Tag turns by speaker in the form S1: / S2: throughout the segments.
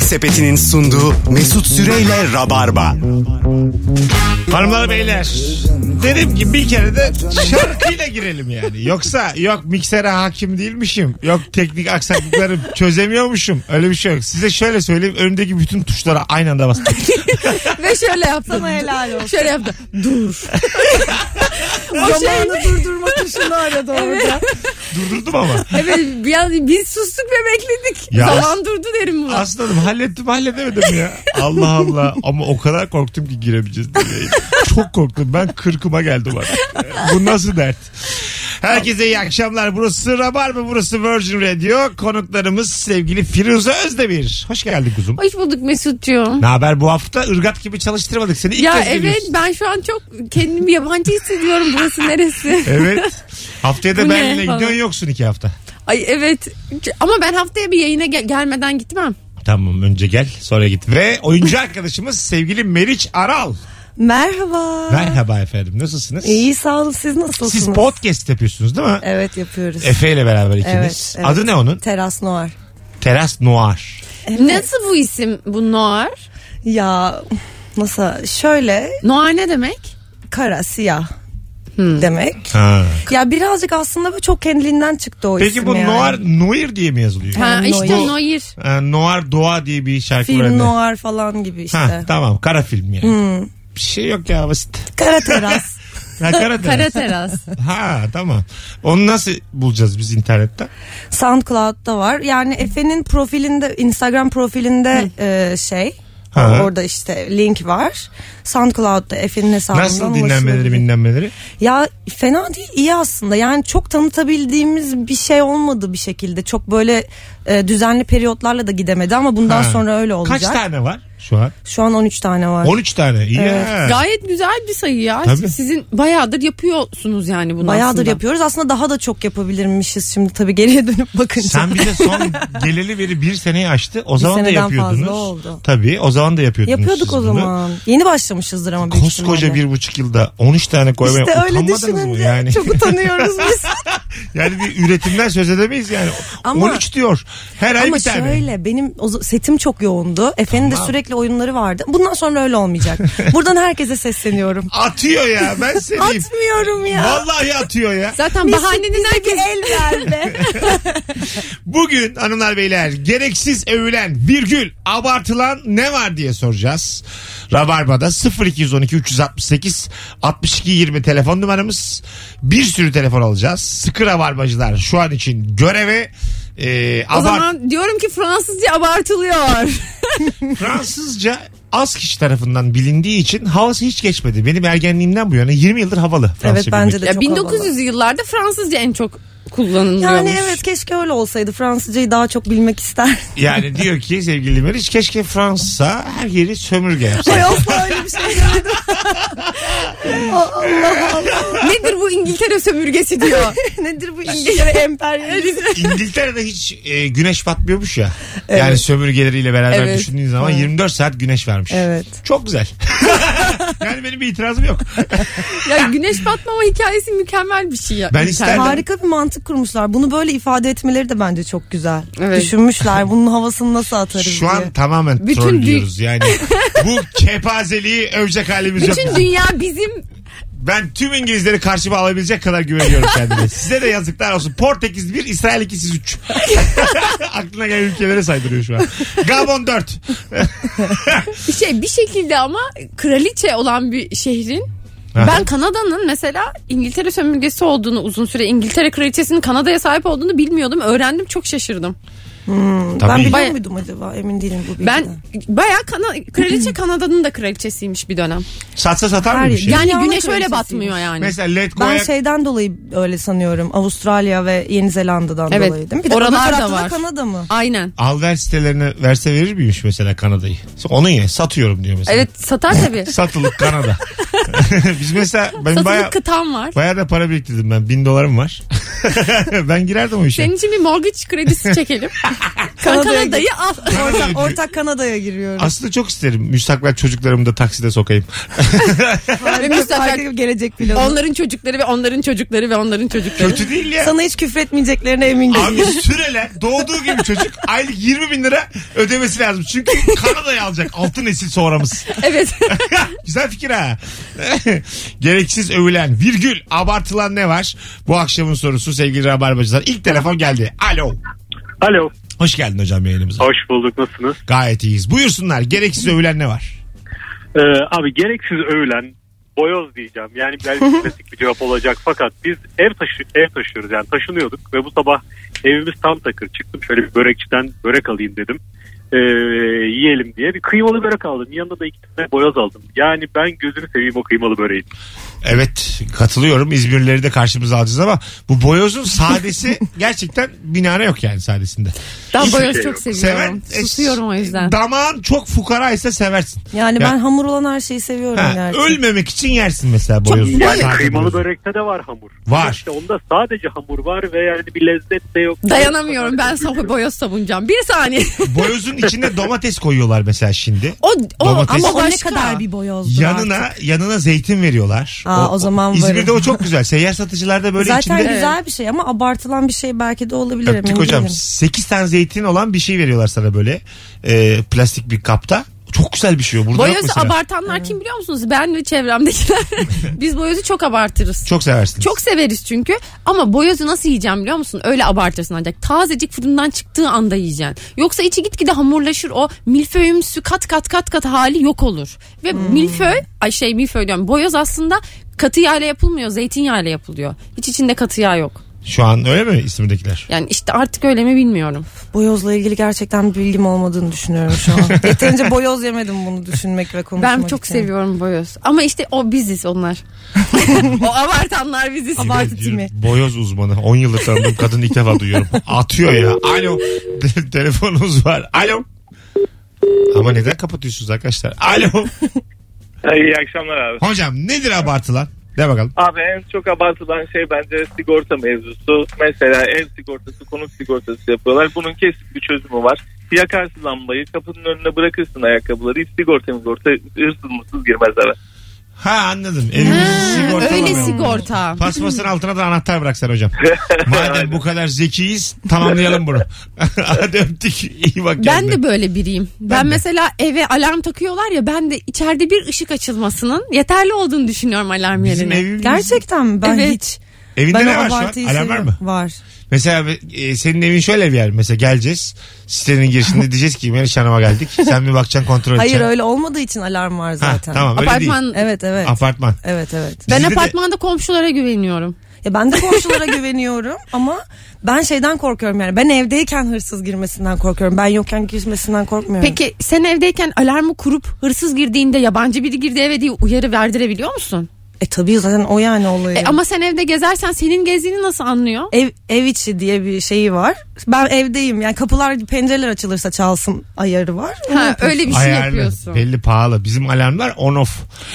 S1: Sepeti'nin sunduğu Mesut Süreyle Rabarba.
S2: Hanımlar beyler dedim ki bir kere de şarkıyla girelim yani. Yoksa yok miksere hakim değilmişim. Yok teknik aksaklıklarım çözemiyormuşum. Öyle bir şey yok. Size şöyle söyleyeyim önümdeki bütün tuşlara aynı anda bastım.
S3: Ve şöyle yaptım.
S4: Sana helal olsun.
S3: Şöyle yaptım. Dur. o şey
S4: Zamanı durdurma tuşunu aradı orada.
S2: Durdurdum ama.
S3: evet bir an- biz sustuk ve bekledik.
S2: Ya as-
S3: Zaman durdu derim buna.
S2: Aslanım hallettim halledemedim ya. Allah Allah ama o kadar korktum ki giremeyeceğiz diye. Çok korktum ben kırkıma geldim artık. Bu nasıl dert? Herkese iyi akşamlar. Burası Rabarba, burası Virgin Radio. Konuklarımız sevgili Firuze Özdemir. Hoş geldin kuzum.
S3: Hoş bulduk Mesut'cuğum.
S2: Ne haber bu hafta ırgat gibi çalıştırmadık seni ilk
S3: Ya
S2: kez
S3: evet
S2: geliyorsun.
S3: ben şu an çok kendimi yabancı hissediyorum. Burası neresi?
S2: Evet. Haftaya da
S3: Bu ne
S2: Berlin'e
S3: falan.
S2: gidiyorsun yoksun iki hafta.
S3: Ay evet. Ama ben haftaya bir yayına gel- gelmeden gitmem.
S2: Tamam önce gel sonra git. Ve oyuncu arkadaşımız sevgili Meriç Aral.
S4: Merhaba.
S2: Merhaba efendim nasılsınız?
S4: İyi sağ olun siz nasılsınız?
S2: Siz podcast yapıyorsunuz değil mi?
S4: Evet yapıyoruz.
S2: Efe ile beraber ikiniz.
S4: Evet, evet.
S2: Adı ne onun?
S4: Teras Noir.
S2: Teras Noir.
S3: Nasıl bu isim bu Noir?
S4: Ya nasıl şöyle
S3: Noir ne demek?
S4: kara siyah demek.
S2: Ha.
S4: Ya birazcık aslında böyle çok kendiliğinden çıktı o isim
S2: Peki bu
S4: yani.
S2: Noir Noir diye mi yazılıyor?
S3: Ha,
S4: Yani
S3: işte
S4: Noir.
S3: Noir.
S2: Ha, Noir Doğa diye bir şarkı var
S4: Film
S2: önde.
S4: noir falan gibi işte. Hmm.
S2: Ha, tamam kara film yani. Bir şey yok ya basit.
S4: Kara teras.
S2: Ha, kara
S3: Kara
S2: teras.
S3: teras.
S2: ha tamam. Onu nasıl bulacağız biz internetten?
S4: SoundCloud'da var. Yani Efe'nin profilinde Instagram profilinde e, şey
S2: Ha.
S4: Orada işte link var. SoundCloud'da Efe'nin hesabından
S2: Nasıl dinlenmeleri
S4: ulaşılabilir.
S2: dinlenmeleri?
S4: Ya fena değil iyi aslında. Yani çok tanıtabildiğimiz bir şey olmadı bir şekilde. Çok böyle e, düzenli periyotlarla da gidemedi ama bundan
S2: Ha.
S4: sonra öyle olacak.
S2: Kaç tane var şu an?
S4: Şu an 13 tane var.
S2: 13 tane. İyi
S4: Evet.
S2: ya.
S3: Gayet güzel bir sayı ya.
S2: Tabii.
S3: Sizin bayağıdır yapıyorsunuz yani bunu
S4: Bayağıdır
S3: aslında.
S4: yapıyoruz. Aslında daha da çok yapabilirmişiz şimdi tabii geriye dönüp bakınca.
S2: Sen bir de son geleli beri bir seneyi aştı. O zaman da
S4: seneden
S2: yapıyordunuz.
S4: fazla oldu.
S2: Tabii o zaman da yapıyordunuz.
S4: Yapıyorduk
S2: siz
S4: o
S2: bunu.
S4: zaman. Yeni başlamışızdır ama büyük
S2: Koskoca
S4: ihtimalle.
S2: bir buçuk yılda 13 tane koymaya
S4: İşte öyle
S2: utanmadınız mı
S4: düşününce
S2: yani?
S4: çok utanıyoruz biz.
S2: yani bir üretimden söz edemeyiz yani.
S4: Ama-
S2: 13 diyor. Her ay
S4: Ama
S2: bir tane.
S4: şöyle benim o z- setim çok yoğundu. Efe'nin de sürekli oyunları vardı. Bundan sonra öyle olmayacak. Buradan herkese sesleniyorum.
S2: Atıyor ya ben seveyim.
S4: Atmıyorum ya.
S2: Vallahi atıyor ya.
S3: Zaten bahanenin herkes...
S4: el ver be.
S2: Bugün hanımlar beyler gereksiz övülen virgül abartılan ne var diye soracağız. Rabarba'da 0212 368 62 20 telefon numaramız. Bir sürü telefon alacağız. Sıkı rabarbacılar şu an için göreve e,
S3: O
S2: abart-
S3: zaman diyorum ki Fransızca abartılıyor.
S2: Fransızca az kişi tarafından bilindiği için havası hiç geçmedi. Benim ergenliğimden bu yana 20 yıldır havalı Fransızca
S4: Evet bence
S2: bilmek.
S4: de
S3: ya
S4: çok
S3: 1900
S4: havalı.
S3: yıllarda Fransızca en çok kullanılıyormuş.
S4: Yani evet keşke öyle olsaydı. Fransızcayı daha çok bilmek ister.
S2: Yani diyor ki sevgili Meriç keşke Fransa her yeri sömürge yapsa.
S4: Ay asla öyle bir şey görmedim. Allah Allah.
S3: Nedir bu İngiltere sömürgesi diyor.
S4: Nedir bu İngiltere emperyalizmi?
S2: İngiltere'de hiç e, güneş batmıyormuş ya. Yani sömürgeleriyle beraber
S3: Evet.
S2: düşündüğün zaman 24 saat güneş vermiş.
S4: Evet.
S2: Çok güzel. yani benim bir itirazım yok.
S3: ya güneş batmama hikayesi mükemmel bir şey ya.
S2: Ben
S3: İnternet.
S2: isterdim.
S4: Harika bir mantık kurmuşlar. Bunu böyle ifade etmeleri de bence çok güzel.
S3: Evet.
S4: Düşünmüşler bunun havasını nasıl atarız
S2: Şu
S4: diye.
S2: an tamamen
S3: Bütün
S2: troll
S3: dü-
S2: diyoruz. Yani bu kepazeliği övecek halimiz yok.
S3: Bütün dünya bizim
S2: Ben tüm İngilizleri karşıma alabilecek kadar güveniyorum kendime. Size de yazıklar olsun. Portekiz 1, İsrail 2, siz 3. Aklına gelen ülkelere saydırıyor şu an. Gabon 4.
S3: bir şey bir şekilde ama kraliçe olan bir şehrin
S2: Aha.
S3: ben Kanada'nın mesela İngiltere sömürgesi olduğunu uzun süre İngiltere kraliçesinin Kanada'ya sahip olduğunu bilmiyordum. Öğrendim çok şaşırdım.
S4: Ben
S2: Tabii.
S4: biliyor
S3: Baya-
S4: muydum acaba? Emin değilim bu bilgiden.
S3: Ben bayağı kana- kraliçe Kanada'nın da kraliçesiymiş bir dönem.
S2: Satsa satar mı
S4: Hayır,
S2: bir şey?
S3: Yani
S4: Dünyanın
S3: güneş öyle
S4: kraliçesiymiş.
S3: batmıyor yani.
S2: Mesela Let
S4: Ben
S2: Go'ya-
S4: şeyden dolayı öyle sanıyorum. Avustralya ve Yeni Zelanda'dan
S3: Evet.
S4: dolayı değil mi? Bir de
S3: Oralar
S4: öbür
S3: da
S4: tarafta
S3: var.
S4: Kanada mı?
S3: Aynen.
S2: al ver sitelerine verse verir miymiş mesela Kanada'yı? Onun ya satıyorum diyor mesela.
S3: Evet satar tabii.
S2: Satılık Kanada. Biz mesela ben
S3: Satılık
S2: baya
S3: kıtam var.
S2: baya da para biriktirdim ben. Bin dolarım var. ben girerdim o işe.
S3: Senin için bir mortgage kredisi çekelim.
S4: Kanada'ya
S3: Kanada'yı al.
S4: Ortak, ortak Kanada'ya giriyorum.
S2: Aslında çok isterim. Müstakbel çocuklarımı da takside sokayım.
S4: Harika-
S3: Ve müstakbel-
S4: harika bir gelecek planı.
S3: Onların çocukları ve onların çocukları ve onların çocukları.
S2: Kötü değil ya.
S4: Sana hiç küfür etmeyeceklerine emin değilim.
S2: Abi süreler doğduğu gibi çocuk aylık 20 bin lira ödemesi lazım. Çünkü Kanada'yı alacak altın nesil sonramız.
S3: Evet.
S2: Güzel fikir ha. Gereksiz övülen virgül abartılan ne var? Bu akşamın sorusu sevgili Rabarbacılar. İlk telefon geldi. Alo.
S5: Alo.
S2: Hoş geldin hocam yayınımıza.
S5: Hoş bulduk nasılsınız?
S2: Gayet iyiyiz. Buyursunlar gereksiz övülen ne var?
S5: Ee, abi gereksiz övülen boyoz diyeceğim. Yani belki klasik bir cevap olacak fakat biz ev taşı ev taşıyoruz yani taşınıyorduk ve bu sabah evimiz tam takır çıktım şöyle bir börekçiden börek alayım dedim. Ee, yiyelim diye bir kıymalı börek aldım. Yanında da iki tane boyoz aldım. Yani ben gözünü seveyim o kıymalı böreğin.
S2: Evet katılıyorum. İzmirlileri de karşımıza alacağız ama bu boyozun sadesi gerçekten binare yok yani sadesinde.
S3: Ben
S5: Hiçbir
S3: boyoz
S5: şey
S3: çok
S5: yok.
S3: seviyorum.
S2: Seven- e,
S3: Susuyorum o yüzden.
S2: Damağın çok fukaraysa seversin.
S4: Yani
S2: Ya-
S4: ben hamur olan her şeyi seviyorum
S2: Ha,
S4: gerçekten.
S2: ölmemek için yersin mesela boyozu.
S5: Yani
S2: Sadece
S5: kıymalı
S2: boyozu.
S5: börekte de var hamur.
S2: Var.
S5: İşte onda sadece hamur var ve yani bir lezzet de yok.
S3: Dayanamıyorum ben sabah boyoz savunacağım. Bir saniye.
S2: Boyozun içine domates koyuyorlar mesela şimdi.
S3: O, o
S2: Domates.
S3: ama
S4: O ne
S3: başka.
S4: kadar bir boyozdur
S2: Yanına
S4: artık.
S2: yanına zeytin veriyorlar.
S4: Aa, o zaman
S2: İzmir'de
S4: varım.
S2: o çok güzel. Seyyar satıcılarda böyle
S4: Zaten
S2: içinde
S4: güzel bir şey ama abartılan bir şey belki de olabilir.
S2: Öptük
S4: emin
S2: hocam.
S4: değilim.
S2: 8 tane zeytin olan bir şey veriyorlar sana böyle. Ee, plastik bir kapta. Çok güzel bir şey o. Burada yok
S3: Boyozu
S2: mesela.
S3: abartanlar kim biliyor musunuz? Ben ve çevremdekiler. Biz boyozu çok abartırız.
S2: Çok seversiniz.
S3: Çok severiz çünkü ama boyozu nasıl yiyeceğim biliyor musun? Öyle abartırsın ancak. Tazecik fırından çıktığı anda yiyeceksin. Yoksa içi gitgide hamurlaşır o milföyümsü kat kat kat kat hali yok olur. Ve milföy, ay şey milföy diyorum boyoz aslında katı yağla yapılmıyor zeytinyağıyla yapılıyor. Hiç içinde katı yağ yok.
S2: Şu an öyle mi İzmir'dekiler?
S3: Yani işte artık öyle mi bilmiyorum.
S4: Boyozla ilgili gerçekten bilgim olmadığını düşünüyorum şu an. Yeterince boyoz yemedim bunu düşünmek ve konuşmak
S3: ben çok
S4: için.
S3: seviyorum boyoz. Ama işte o biziz onlar. o abartanlar biziz.
S4: Abartı
S2: Bir-
S4: timi.
S2: bir Boyoz uzmanı. 10 yıllık tanıdığım kadın ilk defa duyuyorum. Atıyor ya. Alo. Te- Telefonunuz var. Alo. Ama neden kapatıyorsunuz arkadaşlar? Alo.
S6: İyi akşamlar abi.
S2: Hocam nedir abartılan? De bakalım.
S6: Abi en çok abartılan şey bence sigorta mevzusu. Mesela ev sigortası, konut sigortası yapıyorlar. Bunun kesin bir çözümü var. Yakarsın lambayı, kapının önüne bırakırsın ayakkabıları. Hiç sigorta migorta hırsız mısız girmez eve.
S2: Ha anladım. Evimizi
S3: Öyle
S2: sigortalamayalım.
S3: sigorta.
S2: Paspasın altına da anahtar bırak sen hocam. Madem bu kadar zekiyiz tamamlayalım bunu. Hadi öptük. İyi bak
S3: Ben
S2: kendine.
S3: de böyle biriyim. Ben,
S2: de.
S3: mesela eve alarm takıyorlar ya ben de içeride bir ışık açılmasının yeterli olduğunu düşünüyorum alarm
S2: Bizim
S3: yerine.
S2: evimiz.
S4: Gerçekten mi? Ben
S3: Evet.
S4: hiç.
S2: Evinde
S4: ben
S2: ne
S4: o
S2: var şu an?
S4: abartıyı
S2: Alarm var
S4: seviyorum.
S2: mı?
S4: Var.
S2: Mesela e, senin evin şöyle bir yer. Mesela geleceğiz. Sitenin girişinde diyeceğiz ki Meriç Hanım'a geldik. Sen bir bakacaksın kontrol
S4: Hayır
S2: edeceksin.
S4: öyle olmadığı için alarm var
S2: Ha,
S4: zaten.
S2: tamam öyle değil.
S3: Apartman
S4: Evet evet.
S2: Apartman.
S4: Evet evet.
S3: ben
S2: Bizde de-
S3: apartmanda komşulara güveniyorum.
S4: Ya ben de komşulara güveniyorum ama ben şeyden korkuyorum yani. Ben evdeyken hırsız girmesinden korkuyorum. Ben yokken girmesinden korkmuyorum.
S3: Peki sen evdeyken alarmı kurup hırsız girdiğinde yabancı biri girdi eve diye uyarı verdirebiliyor musun?
S4: E tabii zaten o yani olayı.
S3: E, ama sen evde gezersen senin gezdiğini nasıl anlıyor?
S4: Ev, ev içi diye bir şeyi var. Ben evdeyim yani kapılar pencereler açılırsa çalsın ayarı var. E, Onu
S3: Ha,
S4: yapıyorum.
S3: öyle bir şey
S2: Ayarlı.
S3: yapıyorsun.
S2: Belli pahalı. Bizim alarmlar on off.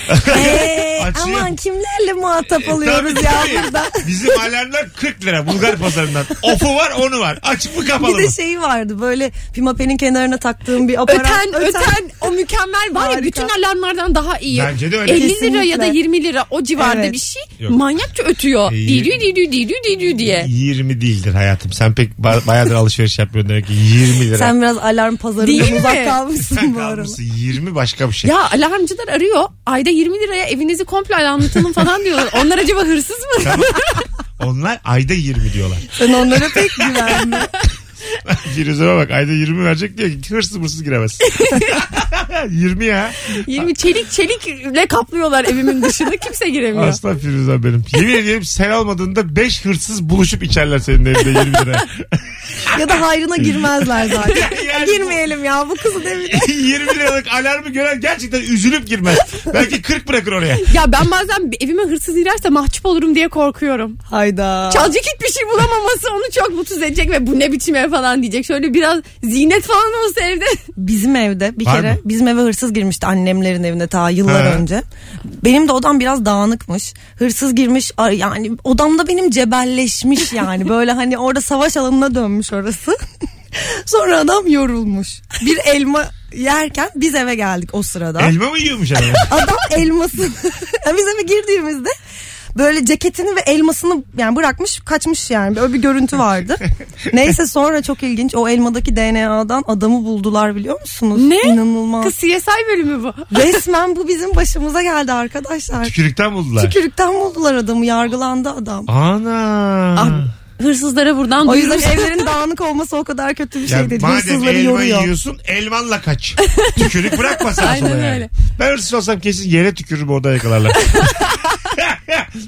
S4: Ee,
S2: Açıyor. E,
S4: aman kimlerle muhatap oluyoruz
S2: Ee, Tabii,
S4: ya
S2: tabii.
S4: burada.
S2: Bizim alarmlar 40 lira Bulgar pazarından. Off'u var onu var. Açık mı kapalı
S4: Bir
S2: mı?
S4: de şey şeyi vardı böyle pimapenin kenarına taktığım bir aparat.
S3: Öten, öten o mükemmel var ya
S4: Harika.
S3: bütün alarmlardan daha iyi.
S2: Bence de öyle.
S3: 50 lira
S4: Kesinlikle.
S3: ya da 20 lira o civarda
S4: Evet.
S3: bir şey
S2: Yok.
S3: manyakça ötüyor.
S2: E, y-
S3: Didü didü didü didü
S4: E,
S3: diye.
S2: 20 değildir hayatım. Sen pek ba- bayağıdır alışveriş yapmıyorsun demek ki 20 lira.
S4: Sen biraz alarm
S3: Değil
S4: pazarından
S3: mi?
S4: uzak kalmışsın
S2: Sen
S4: bu arada.
S2: kalmışsın 20 başka bir şey.
S3: Ya alarmcılar arıyor. Ayda 20 liraya evinizi komple alarmlatalım falan diyorlar. Onlar acaba hırsız mı?
S2: Tamam. Onlar ayda 20 diyorlar.
S4: Sen onlara pek güvenme.
S2: Firuza'ya bak ayda 20 verecek diye hırsız hırsız giremez. 20 ya.
S3: 20 çelik çelikle kaplıyorlar evimin dışında. Kimse giremiyor.
S2: Aslan Firuze benim. Yemin ediyorum sen olmadığında 5 hırsız buluşup içerler senin evinde 20 lira.
S4: ya da hayrına girmezler zaten.
S2: Yani bu-
S4: Girmeyelim ya bu kızı devir.
S2: 20 liralık alarmı gören gerçekten üzülüp girmez. Belki 40 bırakır oraya.
S3: Ya ben bazen bir evime hırsız girerse mahcup olurum diye korkuyorum.
S4: Hayda.
S3: Çalacak hiçbir şey bulamaması onu çok mutsuz edecek ve bu ne biçim ev falan diyecek. Şöyle biraz zinet falan olsa evde.
S4: Bizim evde bir
S2: Var
S4: kere
S2: mı?
S4: bizim eve hırsız girmişti annemlerin evine ta yıllar
S2: Ha.
S4: önce. Benim de odam biraz dağınıkmış. Hırsız girmiş a- yani odamda benim cebelleşmiş yani. Böyle hani orada savaş alanına dönmüş orası. Sonra adam yorulmuş. Bir elma yerken biz eve geldik o sırada.
S2: Elma mı yiyormuş adam?
S4: Adam elmasını yani biz eve girdiğimizde böyle ceketini ve elmasını yani bırakmış kaçmış yani böyle bir görüntü vardı. Neyse sonra çok ilginç o elmadaki DNA'dan adamı buldular biliyor musunuz?
S3: Ne?
S4: İnanılmaz.
S3: Kız CSI bölümü bu.
S4: Resmen bu bizim başımıza geldi arkadaşlar.
S2: Tükürükten buldular.
S4: Tükürükten buldular adamı yargılandı adam.
S2: Ana.
S3: Ah, Hırsızlara buradan
S4: O yüzden
S3: duyurun.
S4: evlerin dağınık olması o kadar kötü bir
S2: Ya
S4: şey değil.
S2: madem
S4: Hırsızları
S2: elma
S4: yoruyor.
S2: yiyorsun elmanla kaç. Tükürük bırakma sana
S3: Aynen
S2: sonra yani.
S3: öyle.
S2: Ben hırsız olsam kesin yere tükürürüm orada yakalarlar.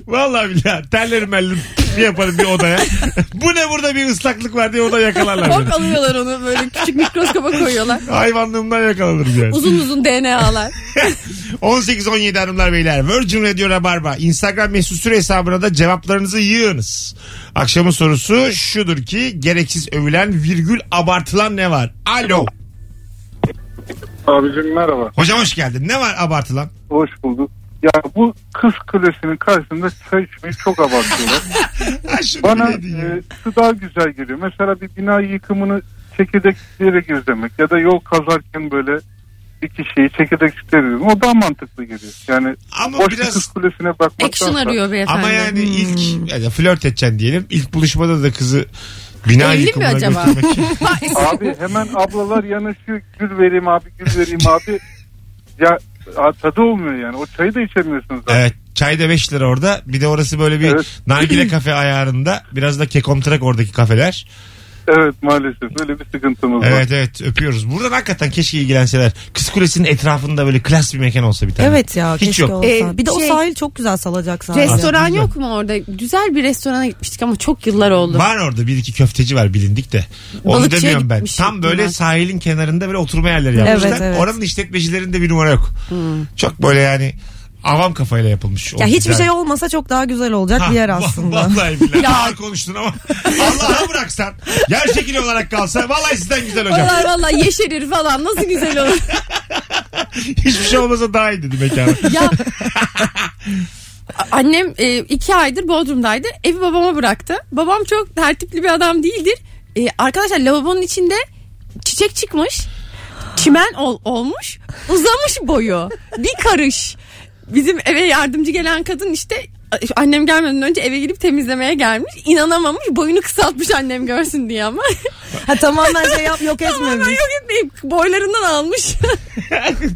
S2: Vallahi billahi terlerim ellerim bir yaparım bir odaya. Bu ne burada bir ıslaklık var diye orada yakalarlar beni.
S3: Hop alıyorlar onu böyle küçük mikroskopa koyuyorlar.
S2: Hayvanlığımdan yakalanırım yani.
S3: Uzun uzun DNA'lar.
S2: 18-17 hanımlar beyler. Virgin Radio Rabarba. Instagram mesut süre hesabına da cevaplarınızı yığınız. Akşamın sorusu şudur ki gereksiz övülen virgül abartılan ne var? Alo.
S7: Abicim merhaba.
S2: Hocam hoş geldin. Ne var abartılan?
S7: Hoş bulduk. Ya bu kız kulesinin karşısında çay içmeyi çok abartıyorlar.
S2: Ha, şunu
S7: Bana
S2: bileydin ya.
S7: e, şu daha güzel geliyor. Mesela bir bina yıkımını çekirdekçilere gözlemek ya da yol kazarken böyle iki şeyi çekirdekçilere gözlemek. O daha mantıklı geliyor. Yani
S2: Ama
S7: boş bir
S2: biraz-
S7: kız kulesine bakmaktansa.
S3: Action arıyor beyefendi.
S2: Ama yani
S4: Hmm.
S2: ilk yani flört edeceksin diyelim. İlk buluşmada da kızı bina
S3: Evli mi
S2: yıkımına
S3: acaba?
S2: götürmek.
S7: Abi hemen ablalar yanaşıyor. Gül vereyim abi gül vereyim abi. Ya a- tadı olmuyor yani. O çayı da içemiyorsunuz. zaten.
S2: Evet. Çay da 5 lira orada. Bir de orası böyle bir
S7: Evet.
S2: nargile kafe ayarında. Biraz da kekomtrak oradaki kafeler.
S7: Evet maalesef öyle bir sıkıntımız var.
S2: Evet evet öpüyoruz. Buradan hakikaten keşke ilgilenseler. Kız Kulesi'nin etrafında böyle klas bir mekan olsa bir tane.
S4: Evet ya
S2: Hiç
S4: keşke
S2: yok.
S4: olsa.
S3: Ee,
S4: bir de
S3: şey-
S4: o sahil çok güzel salacak sahil.
S3: Restoran
S2: Aslında.
S3: yok mu orada? Güzel bir restorana gitmiştik ama çok yıllar oldu.
S2: Var orada bir iki köfteci var bilindik de. Onu
S3: Balıkçıya
S2: demiyorum ben.
S3: gitmiş
S2: Tam böyle
S3: bunlar.
S2: sahilin kenarında böyle oturma yerleri yapmışlar.
S4: Evet, evet.
S2: Oranın işletmecilerinde bir numara yok. Çok böyle yani avam kafayla yapılmış. O
S4: Ya hiçbir
S2: güzel-
S4: şey olmasa çok daha güzel olacak
S2: Ha,
S4: bir yer
S2: va-
S4: aslında.
S2: Vallahi billahi. Ağır konuştun ama Allah'a bıraksan yer şekili olarak kalsa vallahi sizden güzel hocam.
S3: Valla valla yeşerir falan nasıl güzel olur.
S2: Hiçbir şey olmasa daha iyi dedi mekana.
S3: ya A- annem e, iki aydır Bodrum'daydı. Evi babama bıraktı. Babam çok tertipli bir adam değildir. E, arkadaşlar lavabonun içinde çiçek çıkmış. Çimen ol- olmuş. Uzamış boyu. Bir karış. Bizim eve yardımcı gelen kadın işte a- annem gelmeden önce eve girip temizlemeye gelmiş. İnanamamış. Boyunu kısaltmış annem görsün diye ama.
S4: ha tamamen şey yap yok
S3: Tamamen
S4: etmemiş.
S3: yok etmeyip boylarından almış.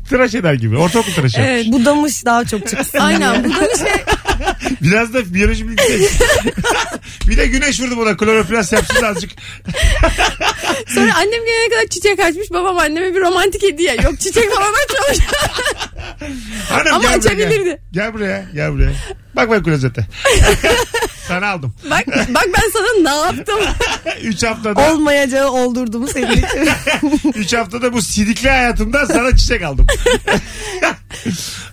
S2: tıraş eder gibi. Ortaokul tıraşı. yapmış.
S3: evet.
S4: Budamış daha çok çıksın.
S3: Aynen. Bu da bir şey
S2: Biraz da biyoloji bilgisi. eksik. bir de güneş vurdu buna. Kloroplast yapsın azıcık.
S3: Sonra annem gelene kadar çiçek açmış. Babam anneme bir romantik hediye. Yok çiçek falan açmamış.
S2: Hanım,
S3: Ama
S2: gel buraya, Gel.
S3: açabilirdi.
S2: gel buraya. Gel buraya. Bak ben klozete. Sana aldım.
S3: bak, bak ben sana ne yaptım.
S2: 3 haftada
S4: Olmayacağı oldurdum senin için.
S2: 3 haftada bu sidikli hayatımda sana çiçek aldım.